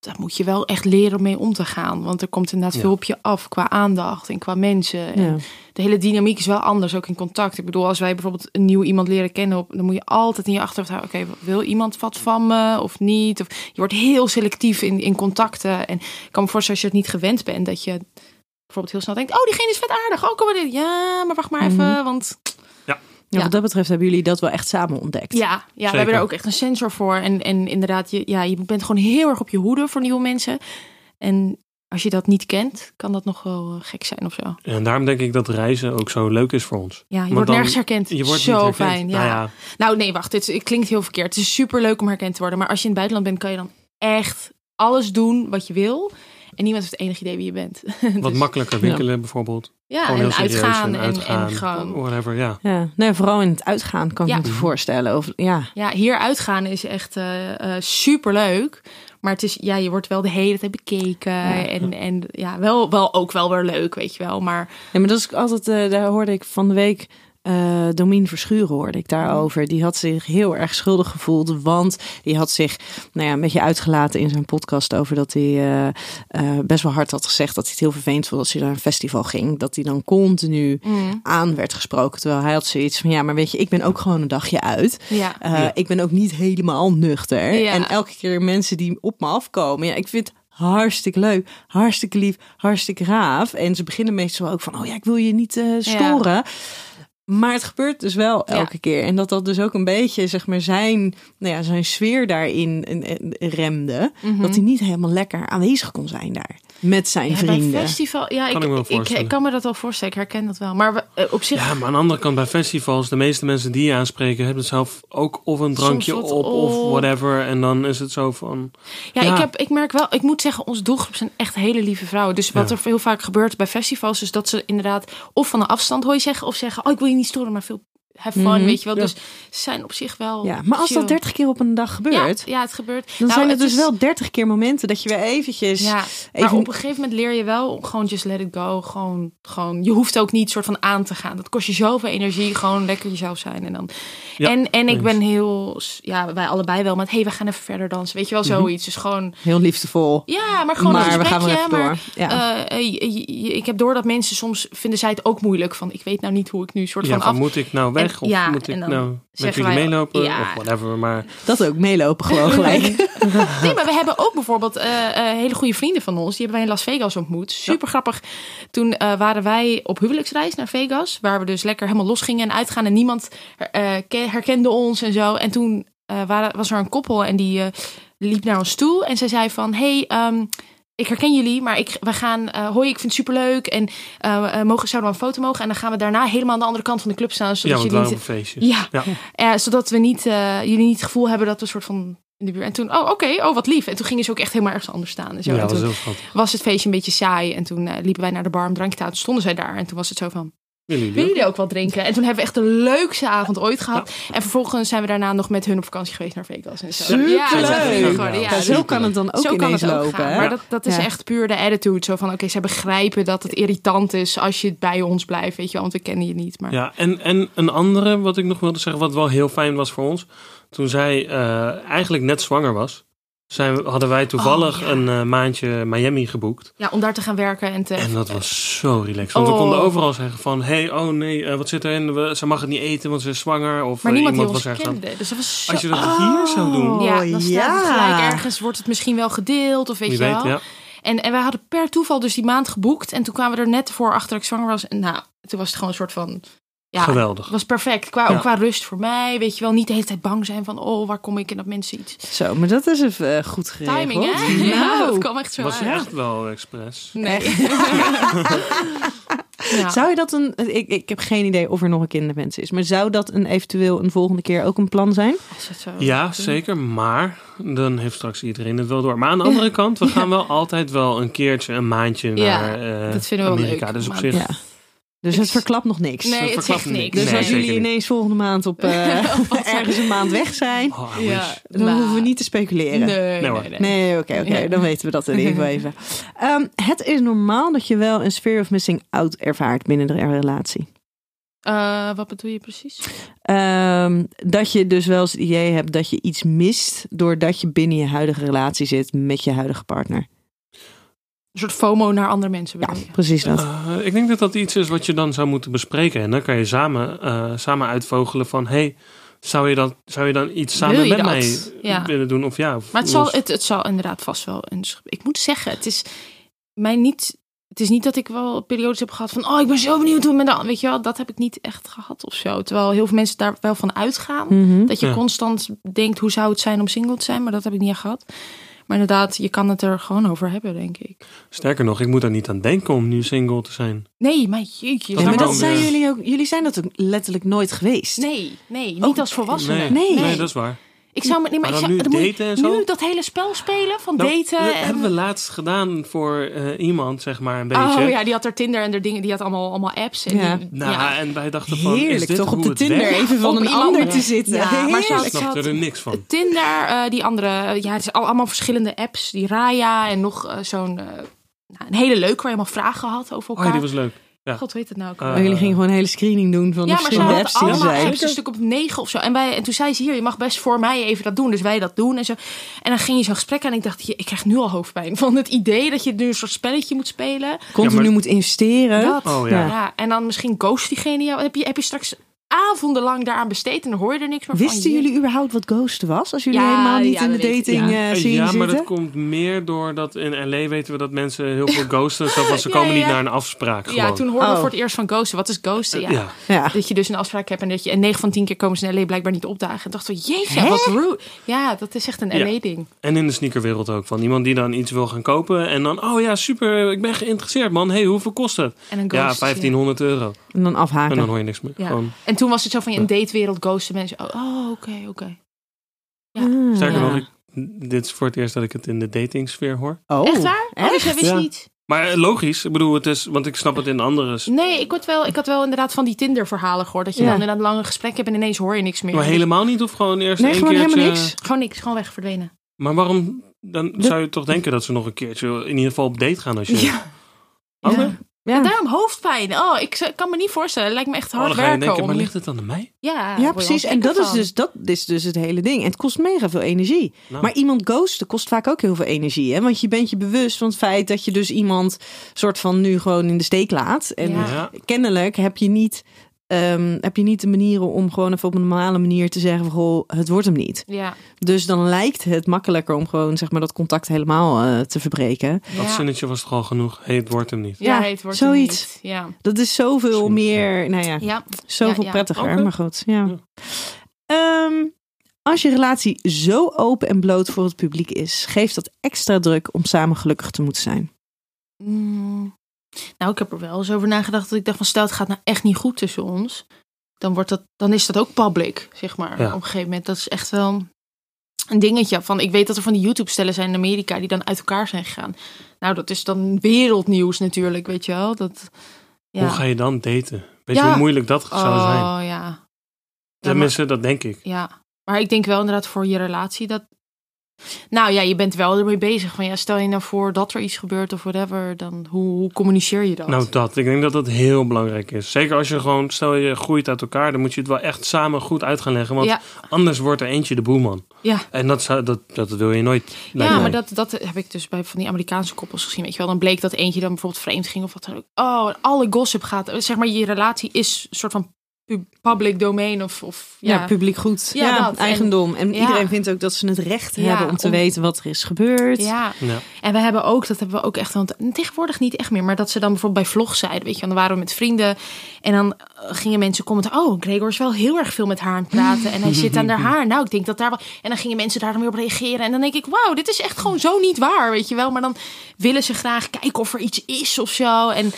Speaker 2: daar moet je wel echt leren om mee om te gaan. Want er komt inderdaad
Speaker 3: Ja.
Speaker 2: veel op je af qua aandacht en qua mensen. En De hele dynamiek is wel anders, ook in contact. Ik bedoel, als wij bijvoorbeeld een nieuw iemand leren kennen, op- dan moet je altijd in je achterhoofd houden. Oké, wil iemand wat van me of niet? Of, je wordt heel selectief in, in contacten. En ik kan me voorstellen als je het niet gewend bent, dat je bijvoorbeeld heel snel denkt, oh, diegene is vet aardig. Oh, kom maar dit. Ja, maar wacht maar even,
Speaker 4: Mhm.
Speaker 2: want
Speaker 4: Ja,
Speaker 2: Ja.
Speaker 4: Wat dat betreft hebben jullie dat wel echt samen ontdekt.
Speaker 2: Ja, ja we hebben er ook echt een sensor voor. En, en inderdaad, je, ja, je bent gewoon heel erg op je hoede voor nieuwe mensen. En als je dat niet kent, kan dat nog wel eh, gek zijn of zo.
Speaker 3: En daarom denk ik dat reizen ook zo leuk is voor ons.
Speaker 2: Ja, je
Speaker 3: Want
Speaker 2: wordt
Speaker 3: dan-
Speaker 2: nergens herkend.
Speaker 3: Je wordt
Speaker 2: Zo
Speaker 3: niet herkend.
Speaker 2: fijn, ja.
Speaker 3: Nou
Speaker 2: Nou nee, wacht, dit is- klinkt heel verkeerd. Het is super leuk om herkend te worden. Maar als je in het buitenland bent, kan je dan echt alles doen wat je wil. En niemand heeft enig idee wie je bent.
Speaker 3: wat
Speaker 2: Dus-
Speaker 3: makkelijker winkelen bijvoorbeeld.
Speaker 2: Ja,
Speaker 3: Gewoon
Speaker 2: en
Speaker 3: heel serieus
Speaker 2: uitgaan,
Speaker 3: en
Speaker 2: En,
Speaker 3: uitgaan. Oh,
Speaker 2: en gewoon
Speaker 3: Whatever, ja.
Speaker 4: Ja. Nee, vooral in het uitgaan kan ik
Speaker 2: Ja.
Speaker 4: me voorstellen. Of, ja.
Speaker 2: Ja, hier uitgaan is echt super leuk. Maar het is, ja, je wordt wel de hele tijd bekeken. En, en ja, wel, wel ook wel weer leuk, weet je wel. Maar
Speaker 4: Nee, maar dat is ook altijd, eh, daar hoorde ik van de week. eh Domien Verschuren hoorde ik daarover. Die had zich heel erg schuldig gevoeld. Want die had zich nou ja, een beetje uitgelaten in zijn podcast over dat hij eh, eh, best wel hard had gezegd dat hij het heel vervelend vond als hij naar een festival ging. Dat hij dan continu aan werd gesproken. Terwijl hij had zoiets van ja, maar weet je, ik ben ook gewoon een dagje uit.
Speaker 2: ja,
Speaker 4: Eh, Ik ben ook niet helemaal nuchter.
Speaker 2: Ja.
Speaker 4: En elke keer mensen die op me afkomen. Ja, ik vind het hartstikke leuk, hartstikke lief, hartstikke gaaf. En ze beginnen meestal ook van, oh ja, ik wil je niet eh, storen. Maar het gebeurt dus wel
Speaker 2: Ja.
Speaker 4: elke keer. En dat dat dus ook een beetje, zeg maar, zijn, nou ja, zijn sfeer daarin eh, eh, remde.
Speaker 2: Mhm.
Speaker 4: Dat hij niet helemaal lekker aanwezig kon zijn daar. Met zijn
Speaker 2: ja, bij
Speaker 4: vrienden.
Speaker 2: festival. Ja,
Speaker 3: Kan
Speaker 2: ik,
Speaker 3: ik me wel
Speaker 2: ik, ik,
Speaker 3: voorstellen.
Speaker 2: kan me dat wel voorstellen. Ik herken dat wel. Maar we- eh, op zich.
Speaker 3: Ja, maar aan de andere kant bij festivals, de meeste mensen die je aanspreken hebben zelf ook of een drankje
Speaker 2: wat
Speaker 3: op of
Speaker 2: op.
Speaker 3: whatever. En dan is het zo van,
Speaker 2: Ja,
Speaker 3: Ja.
Speaker 2: Ik, heb, ik merk wel, ik moet zeggen, onze doelgroep zijn echt hele lieve vrouwen. Dus wat
Speaker 3: Ja.
Speaker 2: er heel vaak gebeurt bij festivals, is dat ze inderdaad of van een afstand hoor je zeggen, of zeggen, oh ik wil je niet storen, maar veel have fun,
Speaker 4: Mhm.
Speaker 2: weet je wel.
Speaker 3: Ja.
Speaker 2: Dus ze zijn op zich wel
Speaker 4: Ja, maar als
Speaker 2: chill.
Speaker 4: dat 30 keer op een dag gebeurt,
Speaker 2: Ja, ja, het gebeurt.
Speaker 4: dan
Speaker 2: Nou,
Speaker 4: zijn er
Speaker 2: het
Speaker 4: dus
Speaker 2: is-
Speaker 4: wel 30 keer momenten dat je weer eventjes.
Speaker 2: Ja, maar
Speaker 4: even-
Speaker 2: op een gegeven moment leer je wel om gewoon just let it go. Gewoon, gewoon, je hoeft ook niet soort van aan te gaan. Dat kost je zoveel energie. Gewoon lekker jezelf zijn. En, dan...
Speaker 3: Ja,
Speaker 2: en, en ik
Speaker 3: eens.
Speaker 2: ben heel, ja, wij allebei wel met, hey, we gaan even verder dansen. Weet je
Speaker 4: Mhm.
Speaker 2: wel, zoiets. Dus gewoon,
Speaker 4: Heel liefdevol.
Speaker 2: ja, maar gewoon een
Speaker 4: Mm. maar we
Speaker 2: gesprekje.
Speaker 4: gaan wel even
Speaker 2: maar,
Speaker 4: door. Ja.
Speaker 2: eh, eh, je- je- ik heb door dat mensen soms vinden zij het ook moeilijk. Van, ik weet nou niet hoe ik nu soort
Speaker 3: Ja,
Speaker 2: van af...
Speaker 3: van moet ik nou weg
Speaker 2: En-
Speaker 3: of
Speaker 2: ja,
Speaker 3: moet ik
Speaker 2: en dan
Speaker 3: nou met
Speaker 2: zeggen
Speaker 3: jullie
Speaker 2: wij-
Speaker 3: meelopen
Speaker 2: ja.
Speaker 3: of whatever. Maar
Speaker 4: dat ook meelopen gewoon gelijk.
Speaker 2: Nee, maar we hebben ook bijvoorbeeld eh, eh, hele goede vrienden van ons. Die hebben wij in Las Vegas ontmoet. Super grappig. Toen eh, waren wij op huwelijksreis naar Vegas. Waar we dus lekker helemaal los gingen en uitgaan. En niemand eh, ke- herkende ons en zo. En toen eh, waren, was er een koppel en die eh, liep naar ons toe. En zij zei van, hey... ehm, ik herken jullie, maar ik, we gaan. eh, hoi, ik vind het superleuk. En eh, eh, mogen, zouden we een foto mogen? En dan gaan we daarna helemaal aan de andere kant van de club staan.
Speaker 3: ja,
Speaker 2: Zodat
Speaker 3: want het
Speaker 2: jullie
Speaker 3: waren
Speaker 2: niet
Speaker 3: op feestjes.
Speaker 2: ja,
Speaker 3: Ja.
Speaker 2: Eh, zodat we niet, eh, jullie niet het gevoel hebben dat we een soort van in de buurt. En toen, oh oké, oh wat lief. En toen gingen ze ook echt helemaal ergens anders staan. En, zo.
Speaker 3: Ja,
Speaker 2: en
Speaker 3: dat was
Speaker 2: toen
Speaker 3: heel schattig.
Speaker 2: was het feestje een beetje saai. En toen eh, liepen wij naar de bar om drankje te halen. Toen stonden zij daar. En toen was het zo van,
Speaker 3: Willen jullie
Speaker 2: willen
Speaker 3: ook?
Speaker 2: jullie ook wat drinken? En toen hebben we echt de leukste avond ooit gehad. En vervolgens zijn we daarna nog met hun op vakantie geweest naar Vegas. En zo.
Speaker 4: Superleuk.
Speaker 2: Ja, dat is echt
Speaker 4: Leuk.
Speaker 2: leuk geworden. Ja,
Speaker 3: Ja,
Speaker 2: dus
Speaker 4: zo kan het dan ook
Speaker 2: zo kan
Speaker 4: ineens
Speaker 2: het ook
Speaker 4: lopen.
Speaker 2: gaan.
Speaker 4: hè?
Speaker 2: Maar dat, dat is
Speaker 4: Ja.
Speaker 2: echt puur de attitude. Zo van, oké, zij begrijpen dat het irritant is als je bij ons blijft. Weet je wel, want we kennen je niet. Maar
Speaker 3: Ja, en, en een andere wat ik nog wilde zeggen, wat wel heel fijn was voor ons. Toen zij eh, eigenlijk net zwanger was, zijn, we- hadden wij toevallig
Speaker 2: Oh, ja.
Speaker 3: een eh, maandje Miami geboekt.
Speaker 2: ja, om daar te gaan werken en te...
Speaker 3: En dat was zo relaxed. Want we
Speaker 2: Oh.
Speaker 3: konden overal zeggen van, hey, oh nee, eh, wat zit erin? We, ze mag het niet eten, want ze is zwanger. Of
Speaker 2: Maar
Speaker 3: eh,
Speaker 2: niemand die
Speaker 3: iemand
Speaker 2: ons
Speaker 3: was ergens aan-
Speaker 2: kende. Dus dat was zo...
Speaker 3: Als je dat hier zou doen,
Speaker 4: Oh,
Speaker 2: ja, dan staat
Speaker 4: ja.
Speaker 2: het gelijk ergens, wordt het misschien wel gedeeld of weet
Speaker 3: wie
Speaker 2: je wel.
Speaker 3: weet, ja.
Speaker 2: En, en wij hadden per toeval dus die maand geboekt. En toen kwamen we er net voor achter dat ik zwanger was. En nou, toen was het gewoon een soort van... Ja,
Speaker 3: Geweldig.
Speaker 2: het was perfect. Qua,
Speaker 3: Ja.
Speaker 2: Ook qua rust voor mij, weet je wel. Niet de hele tijd bang zijn van, oh, waar kom ik en dat mensen iets...
Speaker 4: Zo, maar dat is even eh, goed geregeld.
Speaker 2: Timing, hè?
Speaker 4: Nou,
Speaker 2: Ja, dat kwam echt zo
Speaker 3: Het was
Speaker 2: uit.
Speaker 3: echt wel expres.
Speaker 2: Nee. Ja.
Speaker 4: Zou je dat een. Ik, ik heb geen idee of er nog een kinderwens is. Maar zou dat een eventueel een volgende keer ook een plan zijn?
Speaker 2: Als het zo-
Speaker 3: Ja, zeker. Maar dan heeft straks iedereen het wel door. Maar aan de andere kant, we gaan wel altijd wel een keertje, een maandje naar
Speaker 2: Ja,
Speaker 3: eh,
Speaker 2: dat vinden we wel
Speaker 3: Amerika.
Speaker 2: leuk,
Speaker 3: dus op
Speaker 2: maar-
Speaker 3: zich.
Speaker 4: Ja. Dus
Speaker 2: Ik-
Speaker 4: het verklapt nog niks.
Speaker 2: Nee,
Speaker 3: dat
Speaker 2: het
Speaker 3: verklapt
Speaker 2: zegt niks.
Speaker 4: Dus
Speaker 3: Nee,
Speaker 4: als jullie
Speaker 3: zeker niet.
Speaker 4: ineens volgende maand op eh, ergens een maand weg zijn,
Speaker 3: Oh, I wish.
Speaker 2: Ja,
Speaker 4: dan
Speaker 2: nou,
Speaker 4: hoeven we niet te speculeren.
Speaker 2: Nee,
Speaker 3: Nee, hoor.
Speaker 2: nee, nee.
Speaker 4: Nee, oké, oké.
Speaker 2: Ja.
Speaker 4: Dan weten we dat in ieder geval even. Ehm, het is normaal dat je wel een sphere of missing out ervaart binnen de relatie.
Speaker 2: Eh, wat bedoel je precies?
Speaker 4: Ehm, dat je dus wel eens het idee hebt dat je iets mist doordat je binnen je huidige relatie zit met je huidige partner.
Speaker 2: Een soort FOMO naar andere mensen
Speaker 4: Ja,
Speaker 2: bedoel je?
Speaker 4: precies dat.
Speaker 3: Eh, ik denk dat dat iets is wat je dan zou moeten bespreken. En dan kan je samen, eh, samen uitvogelen van... hey, zou, je dat, zou je dan iets
Speaker 2: Wil
Speaker 3: samen
Speaker 2: je
Speaker 3: met
Speaker 2: dat?
Speaker 3: mij
Speaker 2: Ja.
Speaker 3: willen doen? Of ja, of
Speaker 2: Maar het zal,
Speaker 3: los?
Speaker 2: het, het zal inderdaad vast wel een. sch- Ik moet zeggen, het is mij niet. Het is niet dat ik wel periodes heb gehad van. Oh, ik ben zo benieuwd hoe het met de. an- Weet je wel, dat heb ik niet echt gehad of zo. Terwijl heel veel mensen daar wel van uitgaan.
Speaker 4: Mhm.
Speaker 2: Dat je
Speaker 3: Ja.
Speaker 2: constant denkt hoe zou het zijn om single te zijn, maar dat heb ik niet echt gehad. Maar inderdaad, je kan het er gewoon over hebben, denk ik.
Speaker 3: Sterker nog, ik moet er niet aan denken om nu single te zijn.
Speaker 2: Nee, maar jeetje.
Speaker 3: Dat
Speaker 4: Ja,
Speaker 2: zeg
Speaker 4: maar
Speaker 3: is
Speaker 4: dat
Speaker 3: ook
Speaker 2: maar.
Speaker 4: zijn
Speaker 3: weer-
Speaker 4: jullie ook. Jullie zijn dat ook letterlijk nooit geweest.
Speaker 2: Nee, nee, niet
Speaker 4: Ook-
Speaker 2: als volwassene.
Speaker 3: Oh, Nee,
Speaker 4: Nee.
Speaker 3: nee, dat is waar.
Speaker 2: Ik zou me, nee, maar,
Speaker 3: Maar
Speaker 2: ik
Speaker 3: dan
Speaker 2: zou,
Speaker 3: nu
Speaker 2: dan moet je
Speaker 3: daten en zo?
Speaker 2: nu dat hele spel spelen van
Speaker 3: Nou,
Speaker 2: daten.
Speaker 3: dat
Speaker 2: en-
Speaker 3: hebben we laatst gedaan voor eh, iemand, zeg maar, een beetje.
Speaker 2: Oh ja, die had er Tinder en er dingen, die had allemaal, allemaal apps. En
Speaker 4: Ja.
Speaker 2: die-
Speaker 3: Nou,
Speaker 2: ja.
Speaker 3: en wij dachten van, is
Speaker 4: Heerlijk
Speaker 3: dit
Speaker 4: toch op
Speaker 3: hoe
Speaker 4: de
Speaker 3: het
Speaker 4: Tinder
Speaker 3: werkt?
Speaker 4: even van
Speaker 2: Op
Speaker 4: een
Speaker 2: iemand
Speaker 4: ander te
Speaker 2: anders.
Speaker 4: zitten.
Speaker 2: Ja, maar
Speaker 4: Heerlijk.
Speaker 3: Ik
Speaker 2: Ik
Speaker 3: snapte
Speaker 2: zat-
Speaker 3: er niks van.
Speaker 2: Tinder, eh, die andere, ja, het zijn al- allemaal verschillende apps. Die Raya en nog eh, zo'n, eh, nou, een hele leuke waar je allemaal vragen had over
Speaker 3: Oh ja,
Speaker 2: elkaar.
Speaker 3: die was leuk.
Speaker 2: God weet het nou ook.
Speaker 3: Eh,
Speaker 4: Maar jullie gingen gewoon een hele screening doen van de
Speaker 2: ja, maar ze
Speaker 4: verschillende
Speaker 2: hadden
Speaker 4: apps die er
Speaker 2: allemaal
Speaker 4: zijn.
Speaker 2: apps, een stuk op negen of zo. En, wij, en toen zei ze, hier, je mag best voor mij even dat doen. Dus wij dat doen en zo. En dan ging je zo'n gesprek aan en ik dacht, je- ik krijg nu al hoofdpijn. Van het idee dat je nu een soort spelletje moet spelen.
Speaker 4: Continu
Speaker 3: Ja, maar-
Speaker 4: moet investeren.
Speaker 2: Dat.
Speaker 3: Oh, ja.
Speaker 2: Ja. en dan misschien ghost diegene jou. Heb je, heb je straks avondenlang daaraan besteed en dan hoor je er niks meer van.
Speaker 4: Wisten
Speaker 2: Jeetje.
Speaker 4: jullie überhaupt wat ghosten was? Als jullie
Speaker 2: Ja,
Speaker 4: helemaal niet
Speaker 2: ja,
Speaker 4: in de
Speaker 2: dat weet ik.
Speaker 4: dating eh, scene
Speaker 3: ja, maar
Speaker 4: zitten?
Speaker 3: dat komt meer door dat in LA weten we dat mensen heel veel ghosten. Zo van, ze
Speaker 2: Ja,
Speaker 3: komen
Speaker 2: ja,
Speaker 3: niet
Speaker 2: ja.
Speaker 3: naar een afspraak gewoon.
Speaker 2: Ja, toen hoorden
Speaker 4: Oh.
Speaker 2: we voor het eerst van ghosten. Wat is ghosten? Ja.
Speaker 3: ja.
Speaker 4: Ja.
Speaker 2: Dat je dus een afspraak hebt en dat je en 9 van 10 keer komen ze in LA blijkbaar niet opdagen. En dacht van, jeetje, wat rude. Ja, dat is echt een
Speaker 3: Ja.
Speaker 2: LA-ding.
Speaker 3: En in de sneakerwereld ook. Van iemand die dan iets wil gaan kopen. En dan, oh ja, super, ik ben geïnteresseerd man. hey, hoeveel kost het?
Speaker 2: En een ghost.
Speaker 3: Ja, 1500 euro.
Speaker 4: En dan
Speaker 3: En
Speaker 4: afhaken.
Speaker 3: dan hoor je niks meer.
Speaker 2: Ja.
Speaker 3: Gewoon.
Speaker 2: En toen was het zo van, in datewereld ghosten mensen. Oh, oh, oké, oké. Ja.
Speaker 4: Ah.
Speaker 3: Sterker
Speaker 2: Ja.
Speaker 3: nog, ik- dit is voor het eerst dat ik het in de datingsfeer hoor.
Speaker 4: Oh,
Speaker 2: Echt waar? Oh, dus jij wist
Speaker 3: Ja.
Speaker 2: niet.
Speaker 3: Maar eh, logisch, ik bedoel, het is, want ik snap het in andere... s-
Speaker 2: Nee, ik had wel, ik had wel inderdaad van die Tinder-verhalen gehoord. Dat je
Speaker 4: Ja.
Speaker 2: dan inderdaad lange gesprekken hebt en ineens hoor je niks meer.
Speaker 3: Maar helemaal niet of gewoon eerst
Speaker 4: Nee,
Speaker 3: één
Speaker 4: gewoon
Speaker 3: keertje...
Speaker 4: helemaal niks.
Speaker 2: Gewoon niks, gewoon weg verdwenen.
Speaker 3: Maar waarom... Dan
Speaker 4: Dat-
Speaker 3: zou je toch denken dat ze nog een keertje in ieder geval op date gaan als je... Oh,
Speaker 2: Ja.
Speaker 3: nee?
Speaker 4: Ja,
Speaker 2: Daarom hoofdpijn. Oh, ik z- kan me niet voorstellen. Het lijkt me echt
Speaker 3: Oh,
Speaker 2: hard
Speaker 3: dan ga je
Speaker 2: werken.
Speaker 3: denken,
Speaker 2: om
Speaker 3: maar
Speaker 2: je-
Speaker 3: ligt het dan aan mij?
Speaker 2: Ja,
Speaker 4: ja precies. En dat is, dus, dat is dus het hele ding. En het kost mega veel energie.
Speaker 3: Nou.
Speaker 4: Maar iemand ghosten kost vaak ook heel veel energie. Hè? Want je bent je bewust van het feit dat je dus iemand soort van nu gewoon in de steek laat. En
Speaker 2: Ja.
Speaker 3: Ja.
Speaker 4: kennelijk heb je niet... ehm, heb je niet de manieren om gewoon even op een normale manier te zeggen van goh, het wordt hem niet.
Speaker 2: Ja.
Speaker 4: Dus dan lijkt het makkelijker om gewoon zeg maar dat contact helemaal eh, te verbreken.
Speaker 3: Dat
Speaker 2: ja.
Speaker 3: zinnetje was toch al genoeg? Hé, het wordt hem niet.
Speaker 2: Ja,
Speaker 4: Ja,
Speaker 2: het wordt
Speaker 4: zoiets.
Speaker 2: hem niet. Ja.
Speaker 4: Dat is zoveel
Speaker 3: Misschien,
Speaker 4: meer, nou ja,
Speaker 2: ja.
Speaker 4: zoveel
Speaker 2: Ja, ja.
Speaker 4: prettiger.
Speaker 3: Oké.
Speaker 4: Maar goed, ja. Ehm, als je relatie zo open en bloot voor het publiek is, geeft dat extra druk om samen gelukkig te moeten zijn.
Speaker 2: Mm. Nou, ik heb er wel eens over nagedacht dat ik dacht van stel het gaat nou echt niet goed tussen ons. Dan, wordt dat, dan is dat ook public, zeg maar.
Speaker 3: Ja.
Speaker 2: Op een gegeven moment, dat is echt wel een dingetje. Van, ik weet dat er van die YouTube-stellen zijn in Amerika die dan uit elkaar zijn gegaan. Nou, dat is dan wereldnieuws natuurlijk, weet je wel. Dat, ja.
Speaker 3: Hoe ga je dan daten? Weet je
Speaker 2: Ja.
Speaker 3: hoe moeilijk dat zou zijn?
Speaker 2: Oh, ja. Ja, maar-
Speaker 3: Tenminste, dat denk ik.
Speaker 2: Ja, maar ik denk wel inderdaad voor je relatie dat. Nou ja, je bent wel ermee bezig. Van ja, stel je nou voor dat er iets gebeurt of whatever, dan hoe, hoe communiceer je dat?
Speaker 3: Nou, dat. Ik denk dat dat heel belangrijk is. Zeker als je gewoon, stel je groeit uit elkaar, dan moet je het wel echt samen goed uit gaan leggen. Want
Speaker 2: Ja.
Speaker 3: anders wordt er eentje de boeman.
Speaker 2: ja,
Speaker 3: En dat, zou, dat, dat wil je nooit. lijkt
Speaker 2: ja
Speaker 3: mij.
Speaker 2: maar dat, dat heb ik dus bij van die Amerikaanse koppels gezien. Weet je wel, dan bleek dat eentje dan bijvoorbeeld vreemd ging of wat dan ook. Oh, alle gossip gaat. Zeg maar, je relatie is een soort van pu- public domein of. of ja,
Speaker 4: Ja, publiek goed. Ja,
Speaker 2: Ja, dat. En-
Speaker 4: eigendom. En
Speaker 2: Ja.
Speaker 4: iedereen vindt ook dat ze het recht
Speaker 2: Ja,
Speaker 4: hebben om te
Speaker 2: om-
Speaker 4: weten wat er is gebeurd.
Speaker 2: ja.
Speaker 3: Ja.
Speaker 2: En we hebben ook, dat hebben we ook echt, want tegenwoordig niet echt meer, maar dat ze dan bijvoorbeeld bij vlogs zeiden, weet je, want dan waren we met vrienden en dan eh, gingen mensen commenten, oh, Gregor is wel heel erg veel met haar aan het praten en hij zit aan haar haar. Nou, ik denk dat daar wel. En dan gingen mensen daar dan weer op reageren en dan denk ik, wauw, dit is echt gewoon zo niet waar, weet je wel. Maar dan willen ze graag kijken of er iets is of zo. En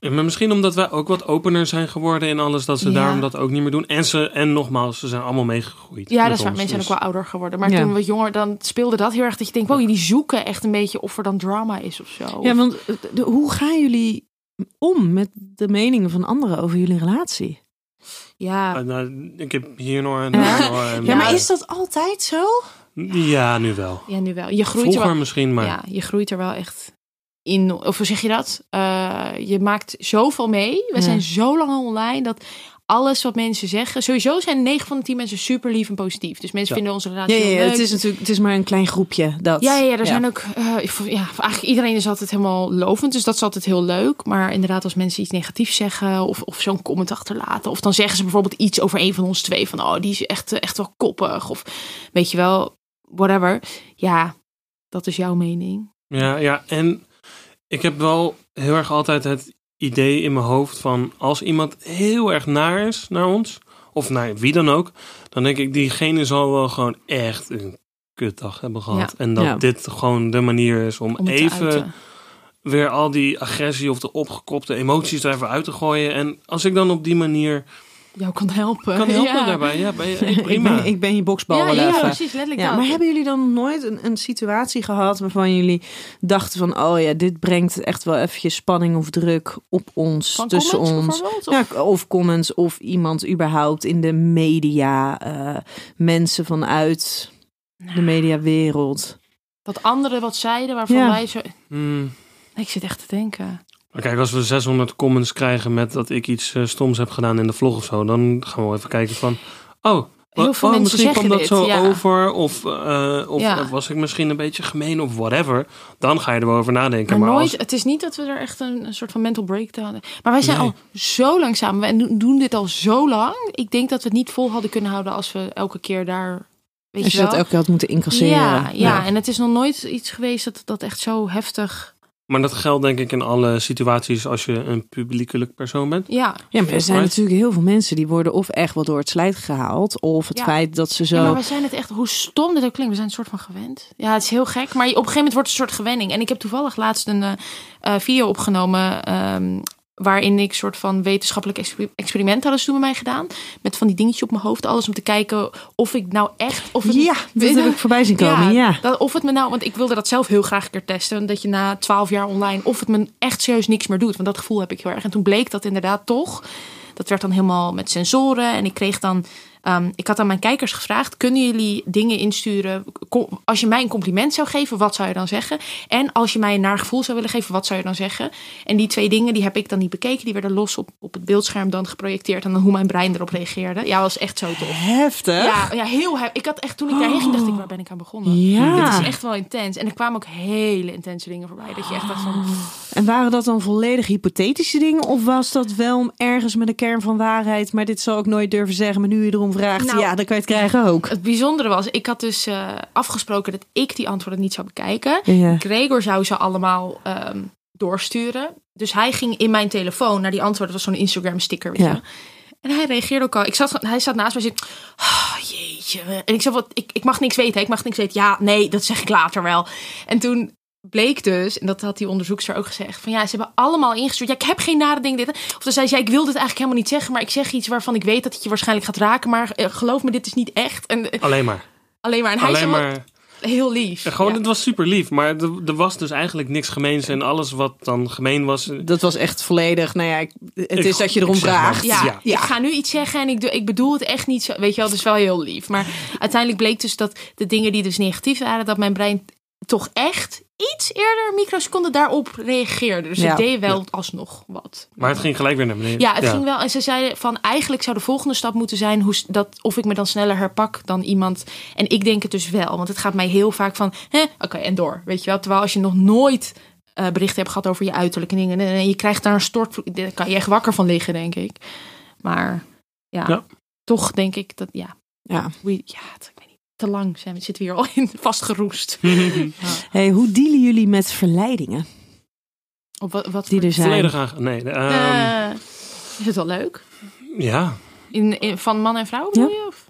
Speaker 3: Ja, Maar misschien omdat wij ook wat opener zijn geworden in alles, dat ze
Speaker 2: Ja.
Speaker 3: daarom dat ook niet meer doen. En, ze, en nogmaals, ze zijn allemaal meegegroeid.
Speaker 2: ja,
Speaker 3: met
Speaker 2: dat is waar,
Speaker 3: ons.
Speaker 2: mensen zijn ook
Speaker 3: Dus-
Speaker 2: wel ouder geworden. Maar
Speaker 4: Ja.
Speaker 2: toen we jonger, dan speelde dat heel erg dat je denkt, wow, jullie zoeken echt een beetje of er dan drama is of zo.
Speaker 4: Ja, want eh, de- hoe gaan jullie om met de meningen van anderen over jullie relatie?
Speaker 2: ja.
Speaker 3: Ah, nou, ik heb hier nog een. nog
Speaker 2: Ja.
Speaker 3: een-
Speaker 4: Ja, maar
Speaker 2: maar
Speaker 4: is
Speaker 2: is
Speaker 4: dat altijd zo?
Speaker 3: Ja, nu wel.
Speaker 2: Ja, nu wel. Je groeit er wel
Speaker 3: Vroeger misschien, maar.
Speaker 2: Ja, je groeit er wel echt in. Of hoe zeg je dat? Eh, je maakt zoveel mee. We
Speaker 4: Ja.
Speaker 2: zijn zo lang al online dat alles wat mensen zeggen. Sowieso zijn 9 van de 10 mensen super lief en positief. Dus mensen
Speaker 3: Ja.
Speaker 2: vinden onze
Speaker 4: Ja,
Speaker 2: relatie
Speaker 4: ja,
Speaker 2: heel
Speaker 4: ja,
Speaker 2: leuk.
Speaker 4: het is natuurlijk het is maar een klein groepje. Dat.
Speaker 2: ja, ja, ja, er zijn ook. eh, ik vond- ja, eigenlijk iedereen is altijd helemaal lovend. Dus dat is altijd heel leuk. Maar inderdaad, als mensen iets negatiefs zeggen. Of, of zo'n comment achterlaten. Of dan zeggen ze bijvoorbeeld iets over een van ons twee. Van oh, die is echt, eh, echt wel koppig. Of weet je wel, whatever. Ja, dat is jouw mening.
Speaker 3: Ja, ja, en ik heb wel heel erg altijd het idee in mijn hoofd van als iemand heel erg naar is naar ons, of naar wie dan ook, dan denk ik, diegene zal wel gewoon echt een kutdag hebben gehad. En dat
Speaker 4: Ja.
Speaker 3: dit gewoon de manier is om,
Speaker 2: Om het te
Speaker 3: even
Speaker 2: uiten.
Speaker 3: weer al die agressie of de opgekopte emoties er even uit te gooien. En als ik dan op die manier
Speaker 2: jou kan helpen.
Speaker 3: kan helpen
Speaker 2: ja.
Speaker 3: daarbij, ja, ben je, hey,
Speaker 4: Ik
Speaker 3: prima.
Speaker 4: ben, ik ben je boksbal
Speaker 2: Ja,
Speaker 4: wel
Speaker 2: ja,
Speaker 4: even.
Speaker 2: precies, letterlijk
Speaker 4: Ja,
Speaker 2: dat.
Speaker 4: maar hebben jullie dan nooit een, een situatie gehad waarvan jullie dachten van, oh ja, dit brengt echt wel eventjes spanning of druk op ons,
Speaker 2: Van
Speaker 4: tussen dus
Speaker 2: comments
Speaker 4: ons?
Speaker 2: bijvoorbeeld? Of-
Speaker 4: Ja, of comments of iemand überhaupt in de media, eh, mensen vanuit
Speaker 2: Nou,
Speaker 4: de mediawereld.
Speaker 2: Dat anderen wat zeiden waarvan
Speaker 4: Ja.
Speaker 2: wij zo...
Speaker 3: Hmm.
Speaker 2: Ik zit echt te denken.
Speaker 3: Maar Kijk, als we 600 comments krijgen met dat ik iets eh, stoms heb gedaan in de vlog of zo, dan gaan we wel even kijken van, oh, wa-
Speaker 2: Heel veel
Speaker 3: oh,
Speaker 2: mensen
Speaker 3: misschien kwam
Speaker 2: zeggen
Speaker 3: dat
Speaker 2: dit,
Speaker 3: zo
Speaker 2: ja.
Speaker 3: over, of, eh, of
Speaker 2: Ja.
Speaker 3: eh, was ik misschien een beetje gemeen of whatever. Dan ga je er wel over nadenken.
Speaker 2: Maar,
Speaker 3: Maar,
Speaker 2: nooit,
Speaker 3: als-
Speaker 2: het is niet dat we er echt een, een soort van mental breakdown hadden. Maar wij zijn
Speaker 3: Nee.
Speaker 2: al zo lang samen. Wij doen- doen dit al zo lang. Ik denk dat we het niet vol hadden kunnen houden als we elke keer daar... Weet
Speaker 4: Als je dat
Speaker 2: wel?
Speaker 4: elke keer had moeten incasseren.
Speaker 2: ja, ja,
Speaker 3: Ja.
Speaker 2: en het is nog nooit iets geweest dat, dat echt zo heftig...
Speaker 3: maar dat geldt denk ik in alle situaties als je een publiekelijk persoon bent.
Speaker 2: Ja,
Speaker 4: Ja, maar er zijn
Speaker 3: Maar-
Speaker 4: natuurlijk heel veel mensen die worden of echt wel door het slijt gehaald, of het
Speaker 2: Ja.
Speaker 4: feit dat ze zo...
Speaker 2: Ja, maar we zijn het echt, hoe stom dit ook klinkt, we zijn het soort van gewend. Ja, het is heel gek, maar op een gegeven moment wordt het een soort gewenning. En ik heb toevallig laatst een eh, eh, video opgenomen ehm, Waarin ik soort van wetenschappelijk exper- experiment hadden ze toen bij mij gedaan. Met van die dingetje op mijn hoofd. Alles om te kijken of ik nou echt... Of het-
Speaker 4: Ja, dat heb ik voorbij zien komen. Ja.
Speaker 2: dat- of het me nou, want ik wilde dat zelf heel graag een keer testen. Dat je na twaalf jaar online, of het me echt serieus niks meer doet. Want dat gevoel heb ik heel erg. En toen bleek dat inderdaad toch. Dat werd dan helemaal met sensoren. En ik kreeg dan. ehm, ik had aan mijn kijkers gevraagd: kunnen jullie dingen insturen? Ko- Als je mij een compliment zou geven, wat zou je dan zeggen? En als je mij een naar gevoel zou willen geven, wat zou je dan zeggen? En die twee dingen die heb ik dan niet bekeken. Die werden los op, op het beeldscherm dan geprojecteerd. En dan hoe mijn brein erop reageerde. Ja, was echt zo tof.
Speaker 4: Heftig.
Speaker 2: Ja, ja, heel hef- Ik had echt toen ik daarheen ging, dacht ik, waar ben ik aan begonnen?
Speaker 4: Ja.
Speaker 2: Dit is echt wel intens. En er kwamen ook hele intense dingen voorbij. Dat je echt dacht van,
Speaker 4: En waren dat dan volledig hypothetische dingen? Of was dat wel ergens met een kern van waarheid, maar dit zal ik nooit durven zeggen, maar nu je erom vraagt,
Speaker 2: Nou,
Speaker 4: ja, dan kan je het krijgen ook.
Speaker 2: Het bijzondere was, ik had dus eh, afgesproken dat ik die antwoorden niet zou bekijken.
Speaker 4: Ja.
Speaker 2: Gregor zou ze allemaal ehm, doorsturen. Dus hij ging in mijn telefoon naar die antwoorden. Dat was zo'n Instagram sticker, weet
Speaker 4: Ja.
Speaker 2: je. En hij reageerde ook al. Ik zat, hij zat naast mij en zei, "Ah, jeetje. En ik zei, wat, ik, ik mag niks weten, hè. ik mag niks weten. Ja, nee, dat zeg ik later wel. En toen bleek dus, en dat had die onderzoekster ook gezegd, van ja, ze hebben allemaal ingestuurd. Ja, ik heb geen nare ding. Dit. Of dan zei ze, ja, ik wilde het eigenlijk helemaal niet zeggen, maar ik zeg iets waarvan ik weet dat het je waarschijnlijk gaat raken, maar eh, geloof me, dit is niet echt. En, eh,
Speaker 3: Alleen maar.
Speaker 2: alleen maar, en hij
Speaker 3: Alleen
Speaker 2: zei,
Speaker 3: maar.
Speaker 2: wel heel lief.
Speaker 3: Ja, gewoon,
Speaker 2: Ja.
Speaker 3: het was super lief. Maar er, er was dus eigenlijk niks gemeens. En alles wat dan gemeen was. eh,
Speaker 4: Dat was echt volledig, nou ja, ik- het
Speaker 3: Ik-
Speaker 4: is dat je erom
Speaker 3: ik zeg maar.
Speaker 4: vraagt.
Speaker 3: Ja.
Speaker 2: Ja,
Speaker 3: Ja.
Speaker 2: ik ga nu iets zeggen en ik, doe, ik bedoel het echt niet zo. Weet je wel, dat is wel heel lief. Maar uiteindelijk bleek dus dat de dingen die dus negatief waren, dat mijn brein toch echt iets eerder, microseconden daarop reageerde. Dus
Speaker 4: Ja.
Speaker 2: het deed wel alsnog wat.
Speaker 3: Maar het ging gelijk weer naar beneden.
Speaker 2: Ja, het ging wel. En ze zeiden van eigenlijk zou de volgende stap moeten zijn hoe, s- dat, of ik me dan sneller herpak dan iemand. En ik denk het dus wel, want het gaat mij heel vaak van, hè, oké, en door. Weet je wel, terwijl als je nog nooit eh, berichten hebt gehad over je uiterlijke dingen en, en je krijgt daar een stort, daar kan je echt wakker van liggen, denk ik. Maar ja,
Speaker 3: Ja.
Speaker 2: toch denk ik dat, ja,
Speaker 4: Ja.
Speaker 2: we, ja het, ik weet niet, te lang zijn we, zitten we hier al in vastgeroest.
Speaker 4: Hey, hoe dealen jullie met verleidingen
Speaker 2: Op wat, wat
Speaker 4: die dus-
Speaker 2: voor-
Speaker 4: er zijn?
Speaker 3: Volledig aan. Nee, de, ehm,
Speaker 2: Eh, is het wel leuk?
Speaker 3: ja.
Speaker 2: In, in- van man en vrouw bedoel je? Of?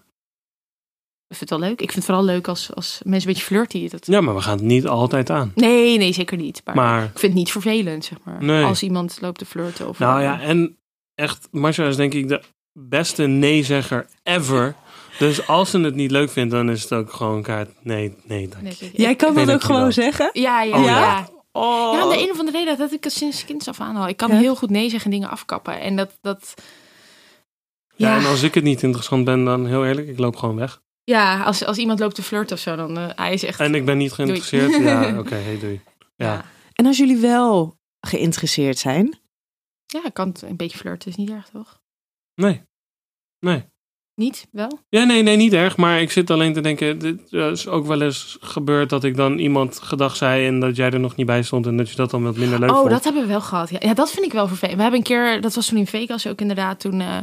Speaker 2: Ik vind het wel leuk. Ik vind het vooral leuk als, als mensen een beetje flirty. Dat...
Speaker 3: ja, maar we gaan het niet altijd aan.
Speaker 2: Nee, nee, zeker niet. Maar,
Speaker 3: Maar
Speaker 2: ik vind het niet vervelend, zeg maar.
Speaker 3: Nee.
Speaker 2: Als iemand loopt te flirten. Of
Speaker 3: Nou ja, en echt, Marcia is denk ik de beste nee-zegger ever. Dus als ze het niet leuk vindt, dan is het ook gewoon kaart nee, nee, dank je.
Speaker 2: Nee, ik-
Speaker 4: Jij kan
Speaker 3: Nee,
Speaker 4: dat ook
Speaker 3: dankjewel.
Speaker 4: gewoon zeggen.
Speaker 2: Ja, ja,
Speaker 3: Oh,
Speaker 2: ja.
Speaker 3: ja.
Speaker 2: ja.
Speaker 3: Oh.
Speaker 2: om de een of andere reden dat ik het sinds kind af aan al. Ik kan
Speaker 4: Ja.
Speaker 2: heel goed nee zeggen en dingen afkappen. En dat... dat...
Speaker 3: ja,
Speaker 2: Ja,
Speaker 3: en als ik het niet interessant ben, dan heel eerlijk, ik loop gewoon weg.
Speaker 2: ja als, als iemand loopt te flirten of zo, dan eh, hij is echt...
Speaker 3: En ik ben niet geïnteresseerd.
Speaker 2: Doei.
Speaker 3: Ja, oké, hey, doei. Ja.
Speaker 4: En als jullie wel geïnteresseerd zijn,
Speaker 2: Ja, ik kan het- een beetje flirten, is niet erg, toch?
Speaker 3: Nee. Nee.
Speaker 2: Niet? Wel?
Speaker 3: Ja, nee, nee, niet erg. Maar ik zit alleen te denken, dit eh, is ook wel eens gebeurd dat ik dan iemand gedag zei en dat jij er nog niet bij stond en dat je dat dan wat minder leuk
Speaker 2: oh,
Speaker 3: vond.
Speaker 2: dat hebben we wel gehad. Ja, ja dat vind ik wel vervelend. We hebben een keer, dat was toen in Vegas ook inderdaad, toen... eh,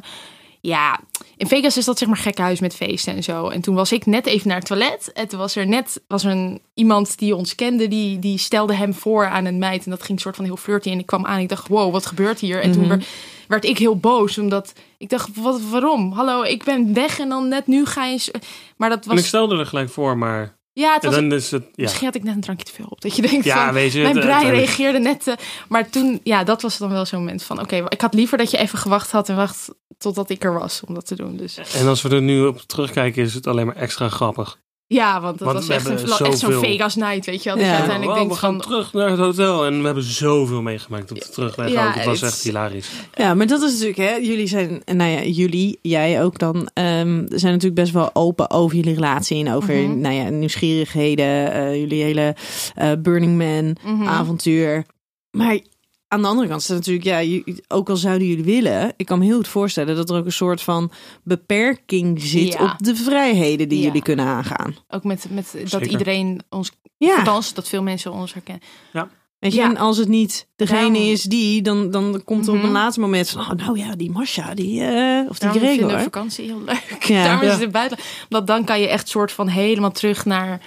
Speaker 2: ja, in Vegas is dat zeg maar gekhuis met feesten en zo. En toen was ik net even naar het toilet. En toen was er net was er een, iemand die ons kende, die, die stelde hem voor aan een meid. En dat ging soort van heel flirty. En ik kwam aan en ik dacht, wow, wat gebeurt hier? En
Speaker 3: Mhm.
Speaker 2: toen werd, werd ik heel boos, omdat ik dacht, wat, waarom? Hallo, ik ben weg en dan net nu ga je... zo- Maar dat
Speaker 3: En ik
Speaker 2: was...
Speaker 3: stelde er gelijk voor, maar
Speaker 2: Ja, het was
Speaker 3: dan is het... Ja,
Speaker 2: Misschien had ik net een drankje te veel op. Dat je denkt
Speaker 3: ja
Speaker 2: van,
Speaker 3: weet je...
Speaker 2: mijn
Speaker 3: het-
Speaker 2: brein
Speaker 3: uiteindelijk-
Speaker 2: reageerde net. eh, maar toen, ja, dat was dan wel zo'n moment van: oké, ik had liever dat je even gewacht had en wacht totdat ik er was om dat te doen. Dus
Speaker 3: En als we er nu op terugkijken, is het alleen maar extra grappig.
Speaker 2: ja, want dat
Speaker 3: Want we
Speaker 2: was echt,
Speaker 3: hebben
Speaker 2: een, echt zo'n
Speaker 3: zoveel.
Speaker 2: Vegas night, weet je wel. Dat
Speaker 4: Ja.
Speaker 2: je
Speaker 3: En
Speaker 2: uiteindelijk
Speaker 3: wow, we
Speaker 2: denkt
Speaker 3: gaan
Speaker 2: van.
Speaker 3: terug naar het hotel en we hebben zoveel meegemaakt op de terugweg.
Speaker 2: Ja,
Speaker 3: ook. Het was
Speaker 2: het-
Speaker 3: echt hilarisch.
Speaker 4: Ja, maar dat is natuurlijk, hè, jullie zijn, nou ja, jullie, jij ook dan, ehm, zijn natuurlijk best wel open over jullie relatie en over,
Speaker 2: Mhm.
Speaker 4: nou ja, nieuwsgierigheden, eh, jullie hele eh, Burning Man
Speaker 2: mhm.
Speaker 4: avontuur. Maar aan de andere kant is het natuurlijk, ja, ju- ook al zouden jullie willen, ik kan me heel goed voorstellen dat er ook een soort van beperking zit
Speaker 2: Ja.
Speaker 4: op de vrijheden die
Speaker 2: Ja.
Speaker 4: jullie kunnen aangaan.
Speaker 2: Ook met, met dat
Speaker 3: Zeker.
Speaker 2: iedereen ons,
Speaker 4: Ja,
Speaker 2: althans dat veel mensen ons herkennen.
Speaker 4: weet je,
Speaker 2: Ja.
Speaker 4: en als het niet degene
Speaker 2: Daarom.
Speaker 4: is die, dan, dan komt er op
Speaker 2: Mhm.
Speaker 4: een later moment van, oh, nou ja, die Masha, die, eh, of die
Speaker 2: Daarom
Speaker 4: Gregor.
Speaker 2: vinden we vakantie heel leuk.
Speaker 4: Ja.
Speaker 2: Daarom
Speaker 3: Ja.
Speaker 2: is het buiten. Want dan kan je echt soort van helemaal terug naar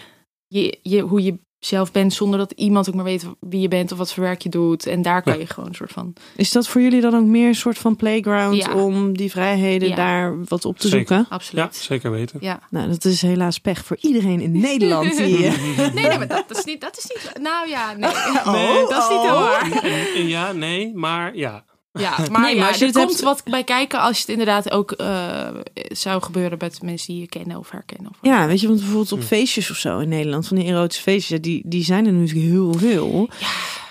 Speaker 2: je, je, hoe je zelf bent, zonder dat iemand ook maar weet wie je bent of wat voor werk je doet. En daar kan je gewoon een soort van
Speaker 4: Is dat voor jullie dan ook meer een soort van playground
Speaker 2: Ja.
Speaker 4: om die vrijheden
Speaker 2: Ja.
Speaker 4: daar wat op te
Speaker 3: Zeker.
Speaker 4: zoeken?
Speaker 3: Ja,
Speaker 2: Absoluut.
Speaker 3: zeker weten.
Speaker 2: Ja.
Speaker 4: Nou, dat is helaas pech voor iedereen in Nederland. Die, eh,
Speaker 2: Nee, nee, maar dat, dat is niet. Dat is niet. Nou ja, nee.
Speaker 4: Oh,
Speaker 2: dat is niet heel
Speaker 4: oh.
Speaker 2: waar.
Speaker 3: Ja, nee, maar ja.
Speaker 2: Ja, maar,
Speaker 4: Nee, maar
Speaker 2: ja,
Speaker 4: als je
Speaker 2: er
Speaker 4: het
Speaker 2: komt
Speaker 4: hebt-
Speaker 2: wat bij kijken als het inderdaad ook eh, zou gebeuren met mensen die je kennen of herkennen. Of
Speaker 4: Ja, weet je, want bijvoorbeeld op
Speaker 3: Hm.
Speaker 4: feestjes of zo in Nederland, van die erotische feestjes, ja, die, die zijn er nu natuurlijk heel veel.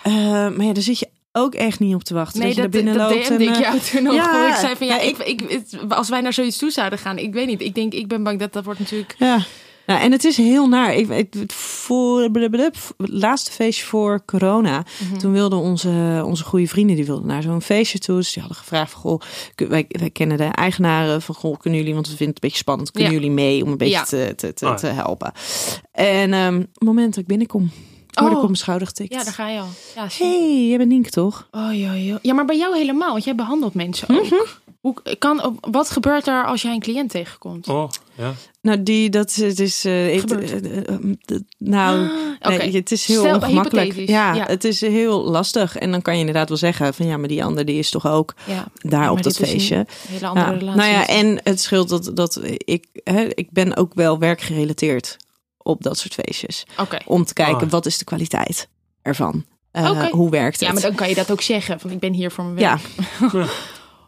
Speaker 4: Eh, maar ja, daar zit je ook echt niet op te wachten.
Speaker 2: Nee,
Speaker 4: Dus dat,
Speaker 2: dat,
Speaker 4: je daar
Speaker 2: dat
Speaker 4: binnen loopt.
Speaker 2: DM'de
Speaker 4: en,
Speaker 2: ik
Speaker 4: eh,
Speaker 2: jou toen ook.
Speaker 4: ja,
Speaker 2: want ik zei van ja,
Speaker 4: ja,
Speaker 2: ik, ik, het- als wij naar zoiets toe zouden gaan, ik weet niet. Ik denk, ik ben bang dat dat wordt natuurlijk.
Speaker 4: Ja. Nou, en het is heel naar. Ik, ik, het voor, blablabla, het laatste feestje voor corona.
Speaker 2: Mhm.
Speaker 4: Toen wilden onze, onze goede vrienden die wilden naar zo'n feestje toe. Dus die hadden gevraagd: van, Goh, kun- wij, wij kennen de eigenaren van Goh, kunnen jullie, want we vinden het een beetje spannend, kunnen
Speaker 2: Ja.
Speaker 4: jullie mee om een beetje
Speaker 2: Ja.
Speaker 4: te, te, te,
Speaker 3: Ah, ja.
Speaker 4: te helpen? En ehm, op het moment dat ik binnenkom, word ik
Speaker 2: Oh.
Speaker 4: op mijn schouder getikt.
Speaker 2: Ja, daar ga je al. Ja, zie.
Speaker 4: hey, jij bent Nienke toch?
Speaker 2: Oh, joh, joh. Ja, maar bij jou helemaal, want jij behandelt mensen ook.
Speaker 4: Mhm.
Speaker 2: Hoe, kan, wat gebeurt er als jij een cliënt tegenkomt?
Speaker 3: Oh, ja.
Speaker 4: Nou, die, dat is- het is. eh, ik-
Speaker 2: Gebeurd.
Speaker 4: eh, eh, eh, eh, nou.
Speaker 2: Oké.
Speaker 4: Nee, het is heel
Speaker 2: Stel,
Speaker 4: ongemakkelijk.
Speaker 2: hypothetisch.
Speaker 4: Ja,
Speaker 2: Ja.
Speaker 4: het is heel lastig. En dan kan je inderdaad wel zeggen van ja, maar die ander die is toch ook
Speaker 2: Ja,
Speaker 4: daar
Speaker 2: maar
Speaker 4: op dat
Speaker 2: dit is een
Speaker 4: feestje.
Speaker 2: hele andere
Speaker 4: Ja.
Speaker 2: relatie.
Speaker 4: Nou ja, en het scheelt dat, dat ik, hè, ik ben ook wel werkgerelateerd op dat soort feestjes.
Speaker 2: Oké.
Speaker 4: Om te kijken
Speaker 3: Ah.
Speaker 4: wat is de kwaliteit ervan. Eh,
Speaker 2: Oké.
Speaker 4: Hoe werkt het?
Speaker 2: Ja, maar dan kan je dat ook zeggen, van ik ben hier voor mijn werk.
Speaker 4: Ja,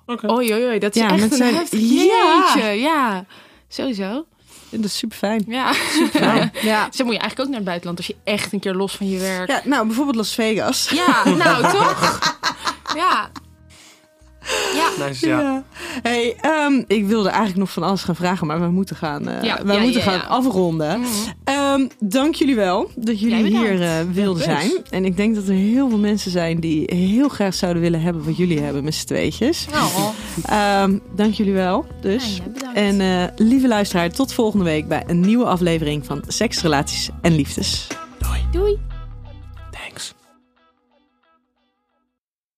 Speaker 3: Oké.
Speaker 2: Oei, oei, oei, dat is
Speaker 4: Ja,
Speaker 2: echt
Speaker 4: met
Speaker 2: een
Speaker 4: zijn-
Speaker 2: heftig
Speaker 4: Ja.
Speaker 2: jeetje. Ja, sowieso.
Speaker 4: dat is super fijn.
Speaker 2: Ja.
Speaker 4: Ja. Ja.
Speaker 2: Zo moet je eigenlijk ook naar het buitenland als je echt een keer los van je werk. Ja,
Speaker 4: nou bijvoorbeeld Las Vegas.
Speaker 2: nou toch? Ja. Ja.
Speaker 3: Nice, ja.
Speaker 4: Hey, ehm, ik wilde eigenlijk nog van alles gaan vragen, maar we moeten gaan, eh,
Speaker 2: Ja,
Speaker 4: we
Speaker 2: ja,
Speaker 4: moeten
Speaker 2: ja,
Speaker 4: gaan
Speaker 2: ja.
Speaker 4: afronden. Ehm, dank jullie wel dat jullie
Speaker 2: Jij bedankt. dus.
Speaker 4: hier eh, wilden
Speaker 3: Ja, thanks.
Speaker 4: zijn. En ik denk dat er heel veel mensen zijn die heel graag zouden willen hebben wat jullie hebben met z'n tweetjes.
Speaker 2: Nou,
Speaker 4: Ehm, dank jullie wel. Dus.
Speaker 2: Ja, jij bedankt.
Speaker 4: en eh, lieve luisteraar, tot volgende week bij een nieuwe aflevering van Seks, Relaties en Liefdes.
Speaker 2: doei.